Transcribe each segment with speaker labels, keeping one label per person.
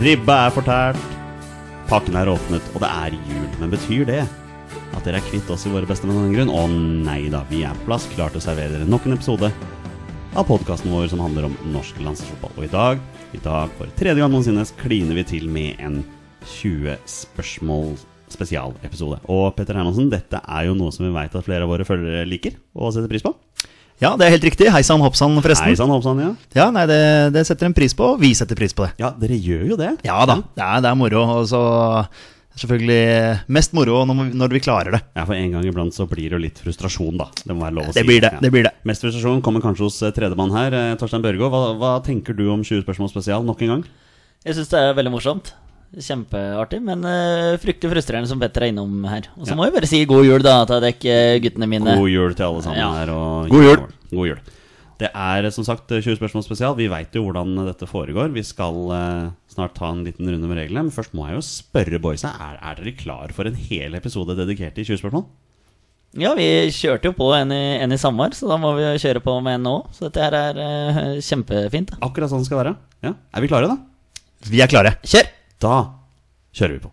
Speaker 1: Ribba er fortært. Pakken er åpnet, og det er jul. Men betyr det at dere er kvitt oss i våre bestemenn av den grunn? Å nei da, vi er på plass, klar til å servere dere nok en episode av podkasten vår som handler om norsk landslagsfotball. Og i dag, i dag for tredje gang noensinne, kliner vi til med en 20 spørsmål spesialepisode. Og Petter Hermansen, dette er jo noe som vi veit at flere av våre følgere liker og setter pris på.
Speaker 2: Ja, det er helt riktig. Hei sann, hopp sann, forresten.
Speaker 1: Hei sann, hopp sann, ja.
Speaker 2: Ja, nei, det, det setter en pris på, og vi setter pris på det. Mm.
Speaker 1: Ja, dere gjør jo det.
Speaker 2: Ja da, det er, det er moro. Og så selvfølgelig mest moro når, vi- når vi klarer det.
Speaker 1: Ja, for en gang iblant så blir det jo litt frustrasjon, da. Det må være lov å si.
Speaker 2: Det blir det.
Speaker 1: Ja.
Speaker 2: det blir det
Speaker 1: Mest frustrasjon kommer kanskje hos eh, tredjemann her, eh, Torstein Børgo. Hva, hva tenker du om 20 spørsmål spesial nok en gang?
Speaker 3: Jeg syns det er veldig morsomt. Kjempeartig, men eh, fryktelig frustrerende som Petter er innom her. Og så
Speaker 1: Ja.
Speaker 3: må jeg bare si god jul, da, til dere guttene mine.
Speaker 1: God jul til alle sammen
Speaker 3: Ja.
Speaker 1: her. Og
Speaker 2: God jul.
Speaker 1: God jul. Det er eh, som sagt eh, 20 spørsmål spesial. Vi veit jo hvordan eh, dette foregår. Vi skal eh, snart ta en liten runde med reglene. Men først må jeg jo spørre boysa. Er, er dere klar for en hel episode dedikert til 20 spørsmål?
Speaker 3: Ja, vi kjørte jo på en i, en i sommer, så da må vi jo kjøre på med en nå. Så dette her er eh, kjempefint. da.
Speaker 1: Akkurat sånn det skal være. Ja. Er vi klare, da?
Speaker 2: Vi er klare.
Speaker 3: Kjør!
Speaker 1: Da kjører vi på.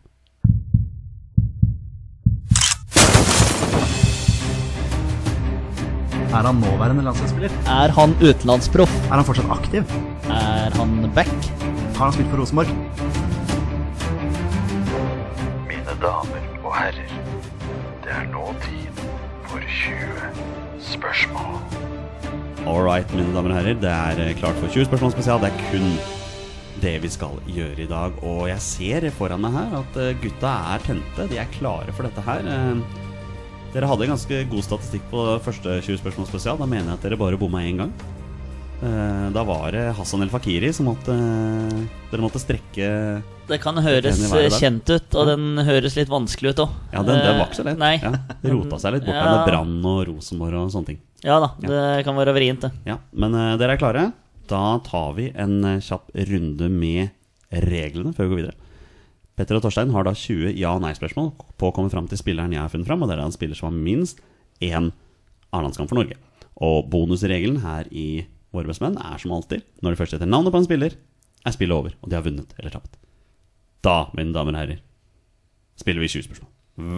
Speaker 2: Er han nåværende landslagsspiller?
Speaker 3: Er han utenlandsproff?
Speaker 2: Er han fortsatt aktiv?
Speaker 3: Er han back?
Speaker 2: Har han spilt for Rosenborg?
Speaker 4: Mine damer og herrer, det er nå tid for 20 spørsmål.
Speaker 1: All right, mine damer og herrer. Det er eh, klart for 20 spørsmål spesial. Det er kun det vi skal gjøre i dag. Og jeg ser foran meg her at eh, gutta er tente. De er klare for dette her. Eh, Dere hadde ganske god statistikk på første 20 spørsmål spesial. Da mener jeg at dere bare bomma én gang. Eh, Da var det Hassan El Fakiri som måtte eh, Dere måtte strekke Ja,
Speaker 3: Det kan høres
Speaker 1: Enig i hver dag.
Speaker 3: kjent ut, og den høres litt vanskelig ut òg.
Speaker 1: den, det var ikke så lett.
Speaker 3: Eh, Nei.
Speaker 1: Ja, det rota seg litt bort her
Speaker 3: Ja.
Speaker 1: med Brann og Rosenborg og sånne ting.
Speaker 3: Ja da, det kan være vrient, det.
Speaker 1: Ja, men eh, dere er klare? Da tar vi en eh, kjapp runde med reglene før vi går videre. Petter og Torstein har da 20 ja- og nei-spørsmål på å komme fram til spilleren jeg har funnet fram, og det er da en spiller som har minst én A-landskamp for Norge. Og bonusregelen her i Våre bestemenn er som alltid når det først heter navnet på en spiller, er spillet over, og de har vunnet eller tapt. Da, mine damer og herrer, spiller vi 20 spørsmål.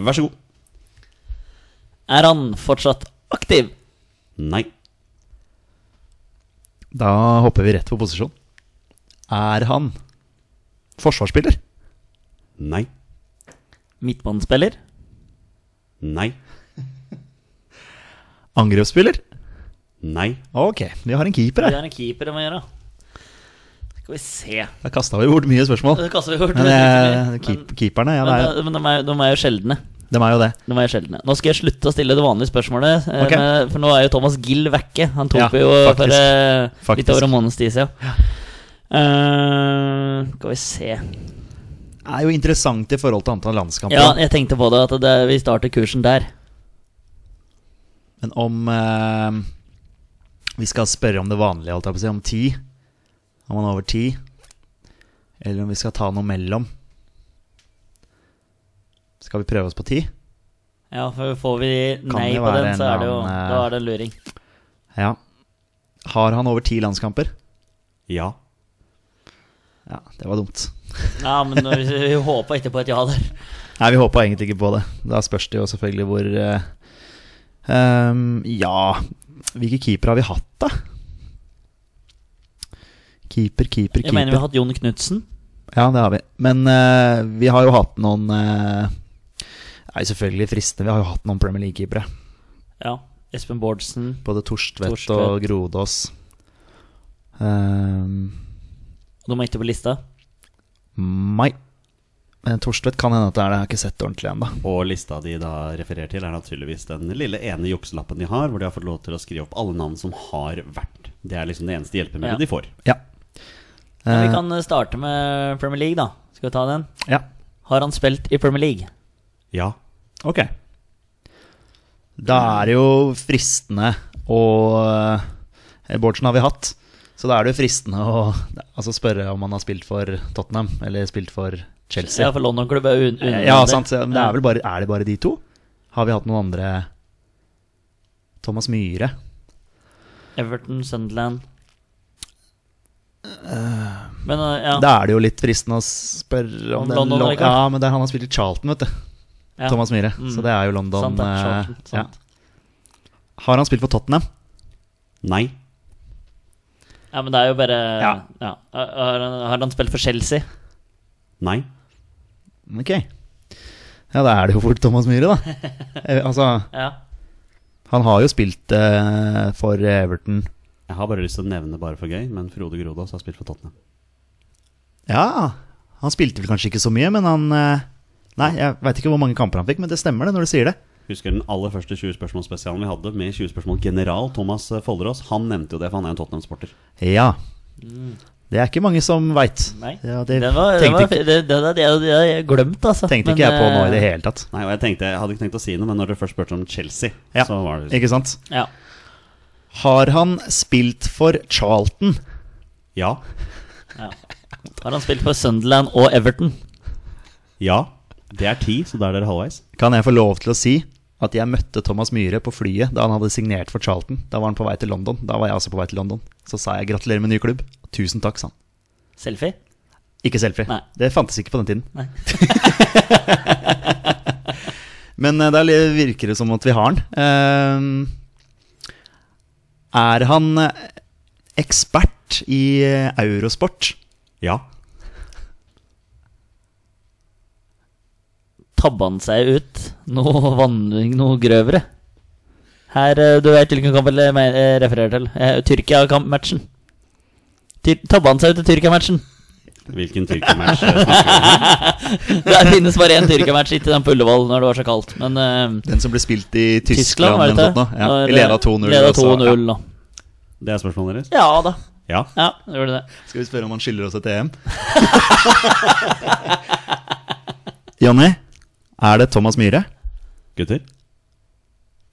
Speaker 1: Vær så god.
Speaker 3: Er han fortsatt aktiv?
Speaker 1: Nei.
Speaker 2: Da hopper vi rett på posisjon. Er han forsvarsspiller?
Speaker 1: Nei.
Speaker 3: Midtbanespiller?
Speaker 1: Nei.
Speaker 2: Angrepsspiller?
Speaker 1: Nei.
Speaker 2: Ok, vi har en keeper
Speaker 3: Det
Speaker 2: her.
Speaker 3: er en keeper det må gjøre. Skal vi se.
Speaker 2: Da kasta vi bort mye spørsmål.
Speaker 3: Det kaster vi bort.
Speaker 2: Men eh,
Speaker 3: Men-
Speaker 2: keep, keeperne, ja, det er,
Speaker 3: men, men de, er, de er jo sjeldne.
Speaker 2: de er jo det.
Speaker 3: De er jo sjeldne. Nå skal jeg slutte å stille det vanlige spørsmålet, eh,
Speaker 2: Ok.
Speaker 3: med- for nå er jo Thomas Gill vekke. Han tok
Speaker 2: Ja,
Speaker 3: vi jo for eh,
Speaker 2: Faktisk.
Speaker 3: litt over en måneds tid siden. Eh, skal vi se
Speaker 2: Er jo interessant i forhold til antall landskamper.
Speaker 3: Ja, jeg tenkte på det, at det, vi starter kursen der.
Speaker 2: Men om eh, vi skal spørre om det vanlige, holdt jeg på å si, om ti Om han er over ti, eller om vi skal ta noe mellom Skal vi prøve oss på ti?
Speaker 3: Ja, for får vi
Speaker 2: Kan
Speaker 3: nei
Speaker 2: det
Speaker 3: på
Speaker 2: være
Speaker 3: den, så
Speaker 2: en
Speaker 3: er det jo
Speaker 2: annen, eh,
Speaker 3: Da er det luring.
Speaker 2: Ja. Har han over ti landskamper?
Speaker 1: Ja.
Speaker 2: Ja, det var dumt.
Speaker 3: Ja, men vi, vi håpa ikke på et ja der.
Speaker 2: Nei, vi håpa egentlig ikke på det. Da spørs det jo selvfølgelig hvor eh, ehm, Ja, hvilke keepere har vi hatt, da? Keeper, keeper,
Speaker 3: Jeg
Speaker 2: keeper.
Speaker 3: mener vi har hatt Jon Knutsen.
Speaker 2: Ja, det har vi. Men eh, vi har jo hatt noen eh, Nei, selvfølgelig fristende. Vi har jo hatt noen Premier League-keepere.
Speaker 3: Ja. Espen Bårdsen.
Speaker 2: Både Torstvedt,
Speaker 3: Torstvedt.
Speaker 2: og Grodås. Um,
Speaker 3: De er ikke på lista.
Speaker 2: nei. Men Torstvedt kan hende at det er det. Jeg har ikke sett det ordentlig ennå.
Speaker 1: Og lista de da refererer til, er naturligvis den lille ene jukselappen de har, hvor de har fått lov til å skrive opp alle navn som har vært. Det er liksom det eneste hjelpemiddelet
Speaker 3: Ja.
Speaker 1: de får.
Speaker 2: Ja.
Speaker 3: Men vi
Speaker 2: Eh,
Speaker 3: kan starte med Premier League, da. Skal vi ta den?
Speaker 2: ja.
Speaker 3: Har han spilt i Premier League?
Speaker 1: Ja.
Speaker 2: Ok. Da er det jo fristende å eh, Bårdsen har vi hatt. Så da er det jo fristende å altså spørre om han har spilt for Tottenham eller spilt for Chelsea.
Speaker 3: Ja, for London-klubb er un under
Speaker 2: Eh, Ja, sant. så- Men det er vel bare, er det bare de to? Har vi hatt noen andre Thomas Myhre.
Speaker 3: Everton, Sunderland Men eh, ja,
Speaker 2: Da er det jo litt fristende å spørre om,
Speaker 3: Om
Speaker 2: den
Speaker 3: London,
Speaker 2: Lon-
Speaker 3: ikke?
Speaker 2: Ja, men der han har spilt i Charlton, vet du.
Speaker 3: ja.
Speaker 2: Thomas Myhre.
Speaker 3: Mm.
Speaker 2: Så det er jo London.
Speaker 3: Sant, det er
Speaker 2: eh,
Speaker 3: Charlton, sant.
Speaker 2: ja. Har han spilt for Tottenham?
Speaker 1: Nei.
Speaker 3: Ja, men det er jo bare ja.
Speaker 2: Ja.
Speaker 3: Har, han, har han spilt for Chelsea?
Speaker 1: Nei.
Speaker 2: Ok. Ja, da er det jo fort Thomas Myhre, da. Eh, altså,
Speaker 3: Ja.
Speaker 2: han har jo spilt eh, for Everton.
Speaker 1: Jeg har bare lyst til å nevne bare for gøy, men Frode Grodås har spilt for Tottenham.
Speaker 2: Ja, han spilte vel kanskje ikke så mye, men han eh, Nei, jeg veit ikke hvor mange kamper han fikk, men det stemmer det når du sier det.
Speaker 1: Husker den aller første 20 spørsmål-spesialen vi hadde med 20 spørsmål general Thomas Folderås. Han nevnte jo det, for han er en Tottenham-sporter.
Speaker 2: Ja. Det er ikke mange som veit.
Speaker 3: Mm. Nei.
Speaker 2: Ja, det
Speaker 3: Den var, den
Speaker 2: tenkte
Speaker 3: var,
Speaker 2: ikke-
Speaker 3: det, det, det, det hadde jeg glemt, altså.
Speaker 2: Tenkte
Speaker 3: Men,
Speaker 2: ikke jeg på nå i det
Speaker 3: eh,
Speaker 2: hele tatt.
Speaker 1: Nei, og jeg tenkte, jeg hadde ikke tenkt å si noe, men når dere først spurte om Chelsea,
Speaker 2: Ja.
Speaker 1: så var det liksom,
Speaker 2: Ikke sant?
Speaker 3: Ja.
Speaker 2: Har han spilt for Charlton?
Speaker 1: ja,
Speaker 3: ja. Har han spilt for Sunderland og Everton?
Speaker 1: ja. Det er ti, så da er dere halvveis.
Speaker 2: Kan jeg få lov til å si at jeg møtte Thomas Myhre på flyet da han hadde signert for Charlton. Da var han på vei til London. Da var jeg også på vei til London. Så sa jeg gratulerer med ny klubb. Tusen takk, sa han.
Speaker 3: Selfie?
Speaker 2: Ikke selfie.
Speaker 3: Nei.
Speaker 2: Det fantes ikke på den tiden.
Speaker 3: Nei.
Speaker 2: Men eh, da virker det som at vi har han. Eh, er han eh, ekspert i eh, eurosport?
Speaker 1: Ja.
Speaker 3: Tabba han seg ut noe vandring, noe grøvere? Her, eh, Du vet hvilken kamp jeg me- eh, refererer til. Eh, Tyrkia-matchen. Tyr tabba han seg ut i Tyrkia-matchen?
Speaker 1: Hvilken Tyrkia-match eh, snakker vi om?
Speaker 3: Det finnes bare én Tyrkia-match, ikke den på Ullevål når det var så kaldt. Men eh,
Speaker 2: Den som ble spilt i Tyskland?
Speaker 3: Tyskland, var det
Speaker 2: eller noe
Speaker 3: ikke?
Speaker 2: sånt nå. Ja, vi leda 2-0.
Speaker 3: Leda
Speaker 2: og så-
Speaker 3: 2-0 nå.
Speaker 1: Det er spørsmålet deres?
Speaker 3: Ja da.
Speaker 1: Ja.
Speaker 3: Ja, det gjorde det.
Speaker 2: Skal vi spørre om han skylder oss et EM? Jonny, er det Thomas Myhre?
Speaker 1: Gutter?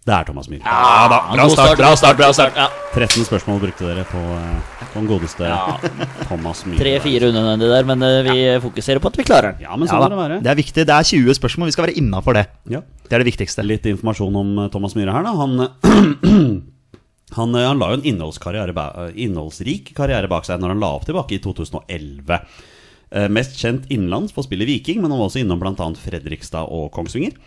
Speaker 1: Det er Thomas Myhre.
Speaker 2: Ja da, bra
Speaker 3: god
Speaker 2: start,
Speaker 3: start.
Speaker 2: bra start, bra start.
Speaker 3: Ja,
Speaker 1: 13 spørsmål brukte dere på, eh, på den godeste Thomas Myhre.
Speaker 3: Tre-fire unødvendig der, men eh, vi fokuserer på at vi klarer den.
Speaker 1: Ja, men
Speaker 2: Ja,
Speaker 1: sånn må det
Speaker 2: da.
Speaker 1: være.
Speaker 2: Det er viktig, det er 20 spørsmål, vi skal være innafor det.
Speaker 1: Ja.
Speaker 2: Det er det viktigste.
Speaker 1: Litt informasjon om eh, Thomas Myhre her, da. Han, han, eh, han la jo en innholdskarriere, ba- eh, innholdsrik karriere bak seg når han la opp tilbake i 2011. Eh, Mest kjent innenlands for å spille Viking, men han var også innom bl.a. Fredrikstad og Kongsvinger.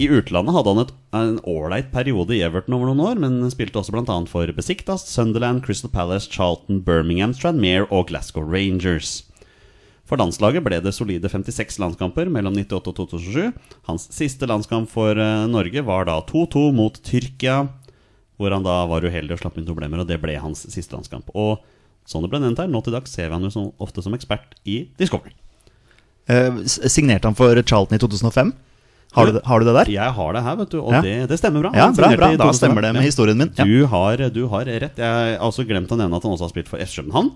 Speaker 1: I utlandet hadde han et, en ålreit periode i Everton over noen år, men spilte også bl.a. for Besiktas, Sunderland, Crystal Palace, Charlton, Birmingham, Tranmere og Glasgow Rangers. For landslaget ble det solide 56 landskamper mellom 98 og 2007. Hans siste landskamp for eh, Norge var da 2-2 mot Tyrkia, hvor han da var uheldig og slapp inn to blemmer, og det ble hans siste landskamp. Og som det ble nevnt her, nå til dags ser vi han jo som, ofte som ekspert i Discovery.
Speaker 2: Eh, s- signerte han for Charlton i 2005? Har du, det- har du det der?
Speaker 1: Jeg har det her, vet du, og
Speaker 2: Ja.
Speaker 1: det, det stemmer bra.
Speaker 2: Ja,
Speaker 1: Han
Speaker 2: bra,
Speaker 1: signerte
Speaker 2: bra.
Speaker 1: i
Speaker 2: Da
Speaker 1: 2005.
Speaker 2: stemmer det med
Speaker 1: Ja.
Speaker 2: historien min. Ja.
Speaker 1: Du har, du har rett. Jeg har også glemt å nevne at han også har spilt for FC København.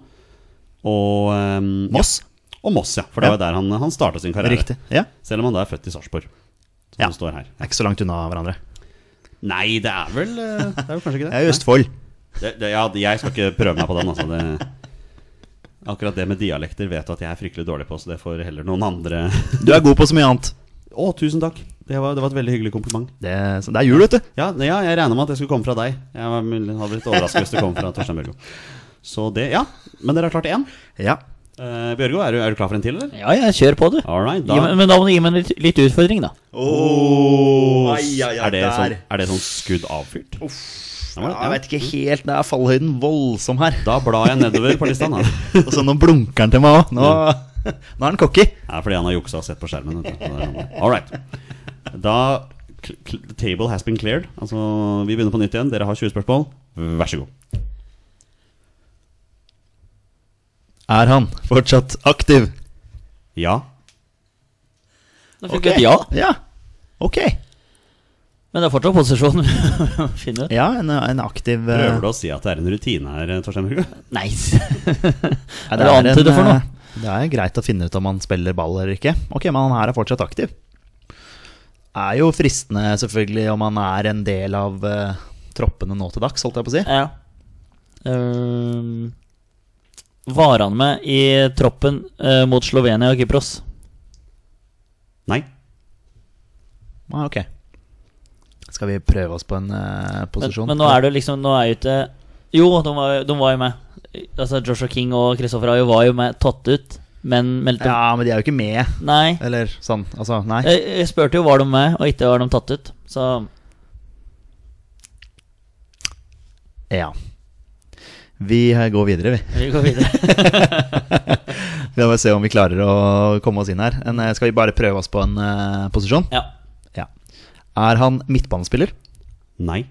Speaker 1: Og ehm,
Speaker 2: Moss?
Speaker 1: Ja, og Moss, ja. For det
Speaker 2: Ja.
Speaker 1: var der han, han starta sin karriere.
Speaker 2: Riktig. Ja.
Speaker 1: Selv om han da er født i Sarpsborg. Som
Speaker 2: Ja.
Speaker 1: det står her.
Speaker 2: Er ikke så langt unna hverandre.
Speaker 1: Nei, det er vel eh, Det er jo kanskje ikke
Speaker 2: Jeg er i
Speaker 1: det.
Speaker 2: Østfold.
Speaker 1: Nei, det, det ja, jeg skal ikke prøve meg på den. Altså, det, akkurat det med dialekter vet du at jeg er fryktelig dårlig på, så det får heller noen andre Å,
Speaker 2: Du er god på så mye annet.
Speaker 1: tusen takk! Det var, det var et veldig hyggelig kompliment.
Speaker 2: Det, så det er jul, vet du.
Speaker 1: Ja, ne- ja, jeg regna med at det skulle komme fra deg. Jeg var, mulig- hadde blitt overrasket hvis det kom fra Torstein Bjørgo. Så det, ja. Men dere har klart én.
Speaker 2: Ja.
Speaker 1: Eh, Bjørgo, er du, er du klar for en til, eller?
Speaker 3: Ja, ja, kjør på, du.
Speaker 1: All right,
Speaker 3: Gi, meg-
Speaker 1: da
Speaker 3: men da må du gi meg litt, litt utfordring, da.
Speaker 2: Oh,
Speaker 1: er, det sånn, er det sånn skudd avfyrt? Ja, men-
Speaker 2: Jeg
Speaker 1: ja.
Speaker 2: vet ikke helt, det er fallhøyden voldsom her.
Speaker 1: Da blar jeg nedover på lista. da. Det
Speaker 2: Og så nå blunker han til meg òg. Nå, nå er han cocky.
Speaker 1: er fordi han har juksa og sett på skjermen. vet du. Så det er han. All right. Da cl- cl- the Table has been cleared. Altså, vi begynner på nytt igjen. Dere har 20 spørsmål. Vær så god.
Speaker 2: Er han fortsatt aktiv?
Speaker 1: Ja.
Speaker 3: Da fikk jeg et ja.
Speaker 2: Ja. Ok.
Speaker 3: Men det er fortsatt posisjon å finne ut.
Speaker 2: Ja, en, en aktiv eh,
Speaker 1: Prøver du å si at det er en rutine her, Torstein Bjørgo?
Speaker 3: Nice.
Speaker 2: ja,
Speaker 3: er det antydet for noe?
Speaker 2: eh, Det er greit å finne ut om han spiller ball eller ikke. Ok, men han her er fortsatt aktiv. Er jo fristende, selvfølgelig, om han er en del av eh, troppene nå til dags, holdt jeg på å si.
Speaker 3: Ja. Ehm, var han med i troppen eh, mot Slovenia og Kypros?
Speaker 1: Nei.
Speaker 2: Ah, ok. Skal vi prøve oss på en eh,
Speaker 3: Men,
Speaker 2: posisjon?
Speaker 3: men nå er det jo liksom Nå er jo ikke Jo, de var, de var jo med. Altså Joshua King og Christopher Ayo var jo med, tatt ut, men meldte
Speaker 2: Ja, men de er jo ikke med.
Speaker 3: Nei.
Speaker 2: Eller sånn. Altså, nei.
Speaker 3: Jeg, jeg spurte jo var de med, og ikke var de tatt ut. Så
Speaker 2: Ja. Vi eh, går videre, vi.
Speaker 3: vi går videre.
Speaker 2: Vi må se om vi klarer å komme oss inn her. En, eh, skal vi bare prøve oss på en eh, posisjon?
Speaker 3: Ja.
Speaker 2: Ja. Er han midtbanespiller?
Speaker 1: Nei.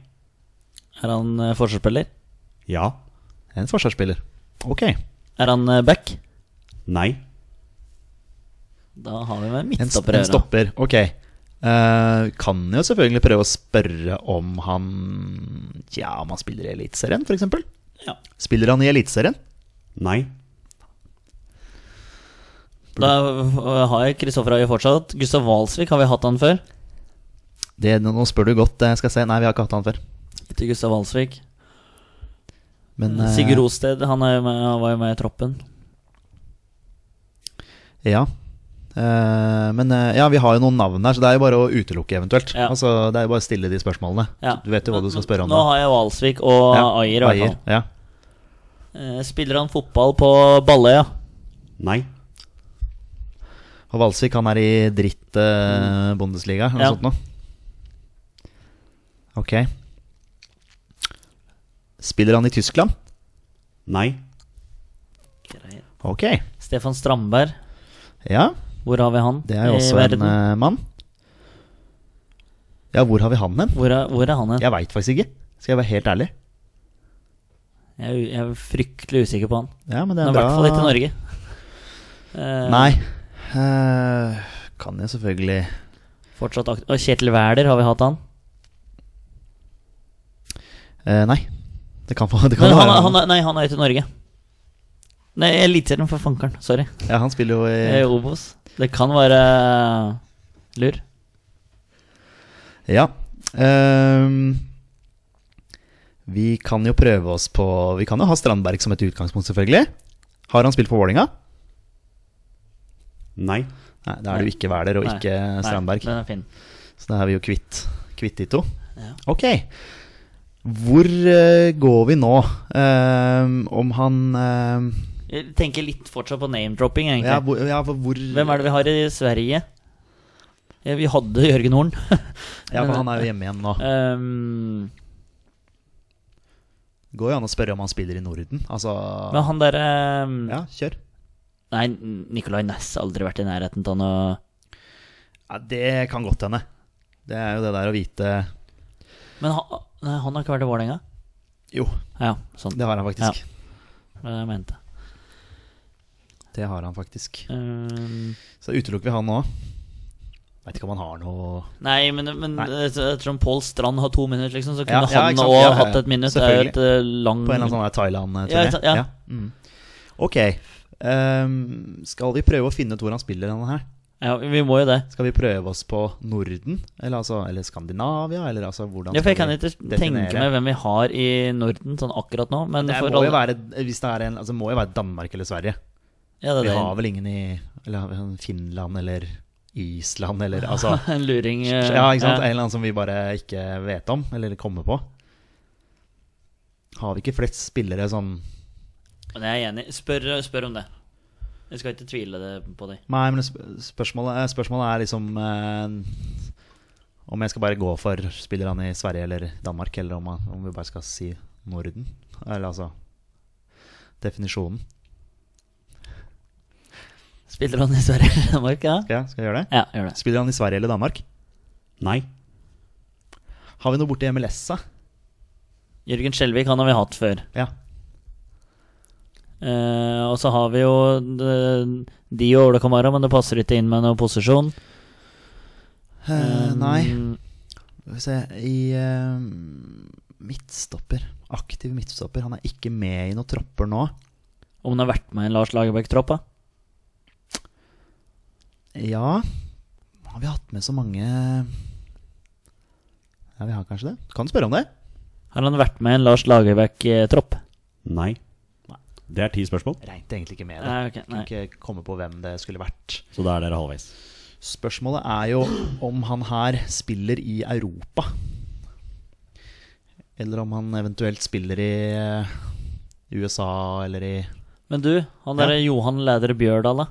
Speaker 3: Er han eh, forsvarsspiller?
Speaker 1: Ja.
Speaker 2: En forsvarsspiller. Ok.
Speaker 3: Er han eh, back?
Speaker 1: Nei.
Speaker 3: Da har vi med
Speaker 2: En, s-
Speaker 3: midtstopper å
Speaker 2: en
Speaker 3: gjøre.
Speaker 2: stopper. Ok. Eh, kan jo selvfølgelig prøve å spørre om han Ja, om han spiller i Eliteserien, f.eks.
Speaker 3: Ja.
Speaker 2: Spiller han i Eliteserien?
Speaker 1: Nei.
Speaker 3: Da eh, har jeg Christoffer Ayo fortsatt. Gustav Walsvik, har vi hatt han før?
Speaker 2: Det, nå nå spør du godt. eh, Skal jeg se. Nei, vi har ikke hatt han før.
Speaker 3: Ikke Gustav Walsvik.
Speaker 2: Men, eh,
Speaker 3: Mm, Sigurd Rosted, han, er jo med, han var jo med i troppen.
Speaker 2: Ja. Eh, men eh, ja, vi har jo noen navn her, så det er jo bare å utelukke eventuelt.
Speaker 3: Ja.
Speaker 2: Altså, det er jo bare å stille de spørsmålene.
Speaker 3: Ja.
Speaker 2: Du vet jo hva du skal spørre om.
Speaker 3: Nå har jeg Walsvik og
Speaker 2: da.
Speaker 3: Ayer, i hvert fall.
Speaker 2: Ja.
Speaker 3: Eh, Spiller han fotball på Balløya?
Speaker 1: Nei.
Speaker 2: Og Valsvik, han er i dritt eh, Bundesliga eller noe
Speaker 3: Mm. Ja.
Speaker 2: sånt noe. Ok. Spiller han i Tyskland?
Speaker 1: Nei.
Speaker 3: Greit.
Speaker 2: Ok.
Speaker 3: Stefan Strandberg,
Speaker 2: Ja,
Speaker 3: hvor har vi han
Speaker 2: det er jo også en eh, mann. Ja, hvor har vi han hen?
Speaker 3: hvor, er, hvor er han hen?
Speaker 2: Jeg veit faktisk ikke. Skal jeg være helt ærlig?
Speaker 3: Jeg, er u- jeg er fryktelig usikker på han.
Speaker 2: Ja, men det er
Speaker 3: Han er i
Speaker 2: bra.
Speaker 3: hvert fall ikke i Norge. Eh,
Speaker 2: Nei. Eh, kan jeg selvfølgelig
Speaker 3: Fortsatt akt og Kjetil Wæler, har vi hatt han?
Speaker 2: Eh, Nei. Det kan, få- det kan
Speaker 3: Men han,
Speaker 2: være
Speaker 3: han, er- nei, han er ikke i Norge. Nei, Eliteserien for fankeren. Sorry.
Speaker 2: Ja, han spiller jo
Speaker 3: Det er
Speaker 2: i
Speaker 3: Obos. Det kan være eh, lur.
Speaker 2: Ja. Ehm, vi kan jo prøve oss på Vi kan jo ha Strandberg som et utgangspunkt, selvfølgelig. Har han spilt for Vålinga?
Speaker 1: Nei.
Speaker 2: Nei, da er det jo ikke Wæler og
Speaker 3: Nei.
Speaker 2: ikke Strandberg.
Speaker 3: Nei, den er fin.
Speaker 2: Så da er vi jo kvitt, kvitt de to.
Speaker 3: Ja.
Speaker 2: Ok. Hvor eh, går vi nå? Ehm, om han ehm,
Speaker 3: Jeg tenker litt fortsatt på name-dropping, egentlig.
Speaker 2: ja, hvor, ja, for hvor
Speaker 3: Hvem er det vi har i Sverige? Ja, vi hadde Jørgen Horn.
Speaker 2: Ja, for han er jo hjemme igjen nå.
Speaker 3: Ehm,
Speaker 2: Går jo an å spørre om han spiller i Norden. Altså
Speaker 3: men han derre ehm,
Speaker 2: Ja, kjør.
Speaker 3: Nei, Nicolay Næss har aldri vært i nærheten av noe
Speaker 2: Ja, det kan godt hende. Det er jo det der å vite
Speaker 3: Men han, nei, han har ikke vært i Vålerenga?
Speaker 2: Jo,
Speaker 3: Ja, sånn.
Speaker 2: det har han faktisk.
Speaker 3: Det var det jeg mente.
Speaker 2: Det har han faktisk.
Speaker 3: Ehm,
Speaker 2: Så utelukker vi han nå. Veit ikke om han har noe
Speaker 3: nei, men, men
Speaker 2: Nei.
Speaker 3: eh, ettersom Pål Strand har to minutter, liksom, så
Speaker 2: Ja,
Speaker 3: kunne
Speaker 2: ja, ikke
Speaker 3: han
Speaker 2: sant.
Speaker 3: òg
Speaker 2: Ja, ja, ja.
Speaker 3: hatt et minutt. Det er jo et eh, lang
Speaker 2: På en eller annen sånn der
Speaker 3: Ja,
Speaker 2: Thailand-turné.
Speaker 3: ikke sant, ja.
Speaker 2: Mm. Ok. ehm, skal vi prøve å finne ut hvor han spiller denne her?
Speaker 3: Ja, vi må jo det.
Speaker 2: Skal vi prøve oss på Norden? Eller, altså, eller Skandinavia? Eller altså hvordan
Speaker 3: Ja, for jeg
Speaker 2: skal
Speaker 3: kan
Speaker 2: vi
Speaker 3: ikke
Speaker 2: definere?
Speaker 3: tenke meg hvem vi har i Norden sånn akkurat nå, men
Speaker 2: Det
Speaker 3: for
Speaker 2: må jo
Speaker 3: alle-
Speaker 2: være, hvis det er en, altså, må jo være Danmark eller Sverige.
Speaker 3: ja, det
Speaker 2: Vi
Speaker 3: er
Speaker 2: har vel ingen i eller, har vi en Finland eller Island eller altså
Speaker 3: det. En luring. eh,
Speaker 2: Ja, ikke sant? En eller annen som vi bare ikke vet om, eller kommer på. Har vi ikke flest spillere sånn
Speaker 3: Men jeg er enig. Spør, spør om det. Jeg skal ikke tvile det på deg.
Speaker 2: Nei, men sp- spørsmålet, spørsmålet er liksom eh, Om jeg skal bare gå for spiller han i Sverige eller Danmark, eller om, han- om vi bare skal si Norden. Eller altså Definisjonen.
Speaker 3: Spiller han i Sverige eller Danmark? Ja,
Speaker 2: Skal jeg, skal jeg gjøre det?
Speaker 3: ja gjør det.
Speaker 2: Spiller han i Sverige eller Danmark?
Speaker 1: Nei.
Speaker 2: Har vi noe borti MLS, da?
Speaker 3: Jørgen Skjelvik, han har vi hatt før.
Speaker 2: Ja.
Speaker 3: Eh, og så har vi jo eh, de og Ola Kamara, men det passer ikke inn med noen posisjon.
Speaker 2: Eh, nei.
Speaker 3: Mm,
Speaker 2: Skal vi se I eh, midtstopper. Aktiv midtstopper. Han er ikke med i noen tropper nå.
Speaker 3: Om han har vært med i en Lars Lagerbäck-tropp, da?
Speaker 2: Ja Har vi hatt med så mange Ja, vi har kanskje det. Kan spørre om det.
Speaker 3: Har han vært med i en Lars Lagerbäck-tropp?
Speaker 1: Nei. Det er ti spørsmål,
Speaker 2: Regnet egentlig ikke med det.
Speaker 3: Nei, ok, nei.
Speaker 2: Kan ikke komme på hvem det skulle vært.
Speaker 1: så da er dere halvveis.
Speaker 2: Spørsmålet er jo om han her spiller i Europa. Eller om han eventuelt spiller i, eh, USA eller i
Speaker 3: Men du, han derre Johan Lædre Bjørdal, da?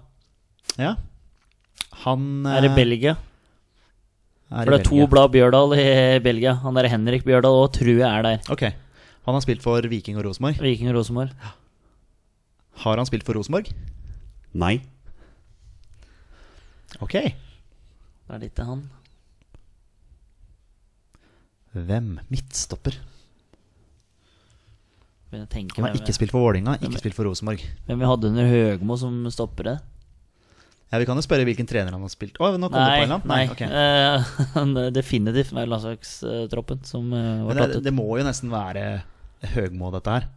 Speaker 2: Ja. Han
Speaker 3: Er i
Speaker 2: eh,
Speaker 3: Belgia.
Speaker 2: er i
Speaker 3: For det er to
Speaker 2: Belgia.
Speaker 3: blad Bjørdal i Belgia. Han derre Henrik Bjørdal òg tror jeg er der.
Speaker 2: Ok. Han har spilt for Viking og Rosenborg.
Speaker 3: Viking og Rosenborg.
Speaker 2: Har han spilt for Rosenborg?
Speaker 1: Nei.
Speaker 2: Ok.
Speaker 3: Det er litt det han.
Speaker 2: Hvem? Midtstopper.
Speaker 3: Men jeg tenker
Speaker 2: Han har
Speaker 3: hvem
Speaker 2: ikke
Speaker 3: vi-
Speaker 2: spilt for Vålinga, ikke spilt for Rosenborg.
Speaker 3: Hvem vi hadde under Høgmo som stopper det?
Speaker 2: Ja, Vi kan jo spørre hvilken trener han har spilt Å, nå kom det på
Speaker 3: Nei,
Speaker 2: en eller annen.
Speaker 3: nei.
Speaker 2: ok.
Speaker 3: eh, definitivt med landslagstroppen som eh, var
Speaker 2: Men det,
Speaker 3: tatt ut.
Speaker 2: det må jo nesten være Høgmo, dette her.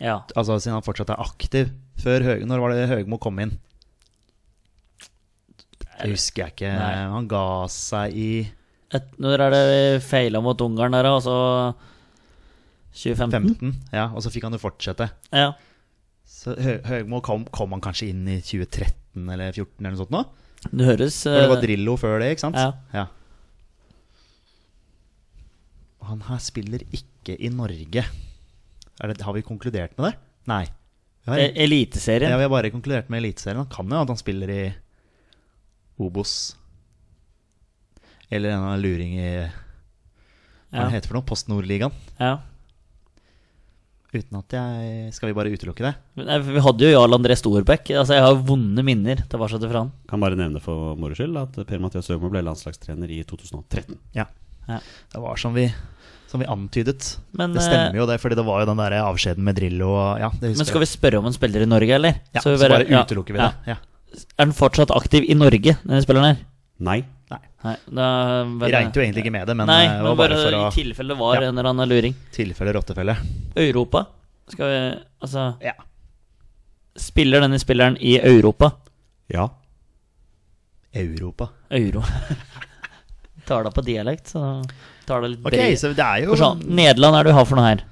Speaker 3: Ja.
Speaker 2: Altså Siden han fortsatt er aktiv. Før Høg, når var det Høgmo kom inn? Det husker jeg ikke.
Speaker 3: Nei.
Speaker 2: Han ga seg i
Speaker 3: Et, når er det vi feila mot Ungarn der, altså? 2015?
Speaker 2: 15, ja, og så fikk han jo fortsette.
Speaker 3: Ja.
Speaker 2: Så Hø Høgmo kom, kom han kanskje inn i 2013 eller 14 eller noe sånt nå?
Speaker 3: Det høres
Speaker 2: For det var
Speaker 3: eh,
Speaker 2: Drillo før det, ikke sant?
Speaker 3: Ja.
Speaker 2: Han her spiller ikke i Norge. Er det, har vi konkludert med det? Nei. Vi har,
Speaker 3: e- Eliteserien.
Speaker 2: ja, vi har bare konkludert med Eliteserien. Han kan jo at han spiller i Obos. Eller en eller annen luring i Hva
Speaker 3: Ja.
Speaker 2: det heter for noe? Post Nord-ligaen.
Speaker 3: ja.
Speaker 2: Uten at jeg Skal vi bare utelukke det?
Speaker 3: Men, nei, for vi hadde jo Jarl André Storbekk. Altså, jeg har vonde minner tilbake til fra han.
Speaker 1: Kan bare nevne for moro skyld at Per-Mathias Høgmo ble landslagstrener i 2013.
Speaker 2: Ja.
Speaker 3: Ja.
Speaker 2: Det var som vi, som vi antydet.
Speaker 3: Men, eh,
Speaker 2: det stemmer jo det, fordi det var jo den der avskjeden med Drillo og Ja, det husker
Speaker 3: Men skal vi spørre om han spiller i Norge, eller?
Speaker 2: Ja, så bare, utelukker vi
Speaker 3: ja.
Speaker 2: det. Ja.
Speaker 3: Er han fortsatt aktiv i Norge, denne spilleren her?
Speaker 1: Nei.
Speaker 2: Nei.
Speaker 3: Nei, da,
Speaker 2: Vi regnet jo egentlig ikke med det, men
Speaker 3: Nei,
Speaker 2: eh, det
Speaker 3: men
Speaker 2: var bare,
Speaker 3: bare, i
Speaker 2: for å
Speaker 3: tilfelle det var
Speaker 2: Ja.
Speaker 3: en eller annen luring.
Speaker 2: tilfelle rottefelle.
Speaker 3: Europa? Skal vi Altså,
Speaker 2: Ja.
Speaker 3: spiller denne spilleren i Europa?
Speaker 1: Ja.
Speaker 2: Europa.
Speaker 3: Euro. tar det på dialekt, så tar det litt
Speaker 2: Ok,
Speaker 3: bred-
Speaker 2: så det er jo
Speaker 3: For sånn, Nederland er det du har for noe her.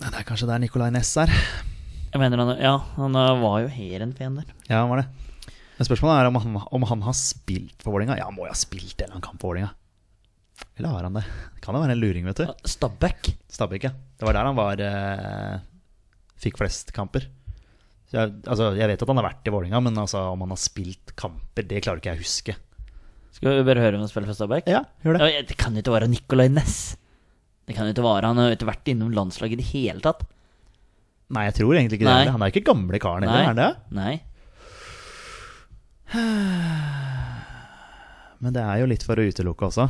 Speaker 2: Nei, Det er kanskje der Nicolay Næss er.
Speaker 3: Jeg mener han Ja, han eh, var jo Heerenveen der.
Speaker 2: Ja, han var det. Men spørsmålet er om han, om han har spilt for Vålinga Ja, han må jo ha spilt en eller annen kamp for Vålinga Eller har han det? Kan det være en luring, vet du.
Speaker 3: Stabæk.
Speaker 2: Stabæk, ja. Det var der han var eh, Fikk flest kamper. Så jeg, altså, jeg vet at han har vært i Vålinga men altså, om han har spilt kamper, det klarer ikke jeg å huske.
Speaker 3: Skal vi bare høre om han spiller for Stabæk?
Speaker 2: Ja, gjør
Speaker 3: Ja, det kan jo ikke være Nicolay Næss. Det kan jo ikke være Han har jo ikke vært innom landslaget i det hele tatt.
Speaker 2: Nei, jeg tror egentlig ikke
Speaker 3: Nei.
Speaker 2: det. heller. Han er ikke gamle karen heller,
Speaker 3: Nei.
Speaker 2: er han det?
Speaker 3: Nei.
Speaker 2: Men det er jo litt for å utelukke også.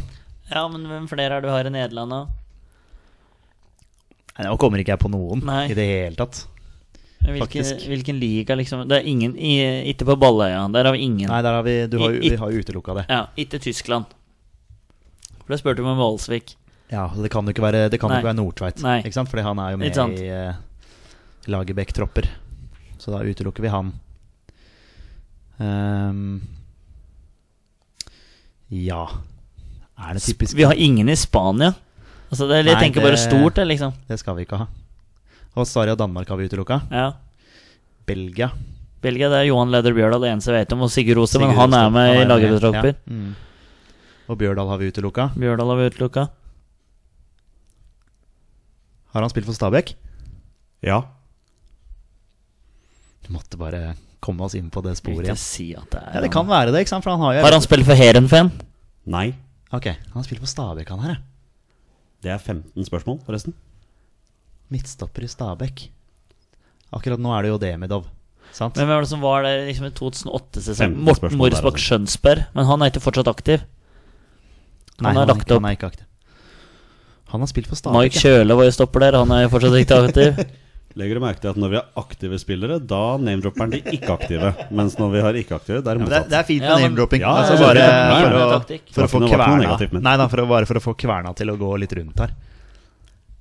Speaker 3: Ja, men hvem flere er det du har i Nederland, da?
Speaker 2: Nei, Nå kommer ikke jeg på noen
Speaker 3: Nei.
Speaker 2: i det hele tatt.
Speaker 3: Hvilken,
Speaker 2: Faktisk.
Speaker 3: hvilken liga, liksom? Det er ingen i, Ikke på Balløya. Der har vi ingen.
Speaker 2: Nei, der har vi, du har, jo-
Speaker 3: I-
Speaker 2: vi har jo utelukka det.
Speaker 3: Ja, ikke Tyskland. For da spurte du om Valsvik.
Speaker 2: Ja, så Det kan jo ikke være, det kan jo
Speaker 3: Nei.
Speaker 2: ikke være Nordtveit,
Speaker 3: Nei.
Speaker 2: ikke sant? Fordi han er jo
Speaker 3: Ikke
Speaker 2: med
Speaker 3: sant.
Speaker 2: i eh, Lagerbäck-tropper. Så da utelukker vi han. Ehm, ja Er det typisk
Speaker 3: Vi har ingen i Spania. Altså, det, jeg
Speaker 2: Nei,
Speaker 3: tenker bare
Speaker 2: det-
Speaker 3: stort, det, liksom.
Speaker 2: Det skal vi ikke ha. Og Sverige og Danmark har vi utelukka.
Speaker 3: Ja.
Speaker 2: Belgia.
Speaker 3: Belgia det er Johan Leder Bjørdal det eneste jeg vet om, og Sigurd Rose, men
Speaker 2: Sigurd
Speaker 3: han er
Speaker 2: Rostad,
Speaker 3: med i
Speaker 2: ja.
Speaker 3: lagerbetropper.
Speaker 2: Mm. Og Bjørdal har vi utelukka.
Speaker 3: Bjørdal har vi utelukka.
Speaker 2: Har han spilt for Stabæk?
Speaker 1: Ja.
Speaker 2: Du måtte bare komme oss inn på det sporet igjen.
Speaker 3: Ikke si at det er
Speaker 2: Ja, det kan være det, ikke sant? For han har jo
Speaker 3: Har han spilt for Heerenveen?
Speaker 1: Nei.
Speaker 2: Ok, han har spilt for Stabæk, han her, ja.
Speaker 1: Det er 15 spørsmål, forresten.
Speaker 2: Midtstopper i Stabæk. Akkurat nå er det jo Demidov, sant?
Speaker 3: Men hvem var det som var der liksom i 2008-sesongen?
Speaker 1: Femte
Speaker 3: Morten
Speaker 1: spørsmål
Speaker 3: Morsbakk
Speaker 1: der, altså.
Speaker 3: Skjønsberg. Men han er ikke fortsatt aktiv. Han
Speaker 2: Nei,
Speaker 3: har lagt
Speaker 2: ikke,
Speaker 3: opp.
Speaker 2: han er ikke aktiv. Han har spilt for
Speaker 3: Mike
Speaker 2: Stabæk, ja.
Speaker 3: Kjøle var jo stopper der, han er jo fortsatt ikke aktiv.
Speaker 1: Legger du merke til at når vi har aktive spillere, da name-dropper han de ikke-aktive. Mens når vi har ikke-aktive, det er
Speaker 2: Ja, men det,
Speaker 1: motsatt.
Speaker 2: det er fint med
Speaker 3: Ja, men-
Speaker 2: name-dropping.
Speaker 1: Ja,
Speaker 2: altså
Speaker 1: ja,
Speaker 2: bare
Speaker 1: ja, ja.
Speaker 2: for å, for
Speaker 3: Taktikk.
Speaker 2: å
Speaker 1: Det var ikke noe- det var
Speaker 2: få
Speaker 1: ikke noe
Speaker 2: kverna
Speaker 1: negativt, men-
Speaker 2: Nei da, for å, bare for å få kverna til å gå litt rundt her.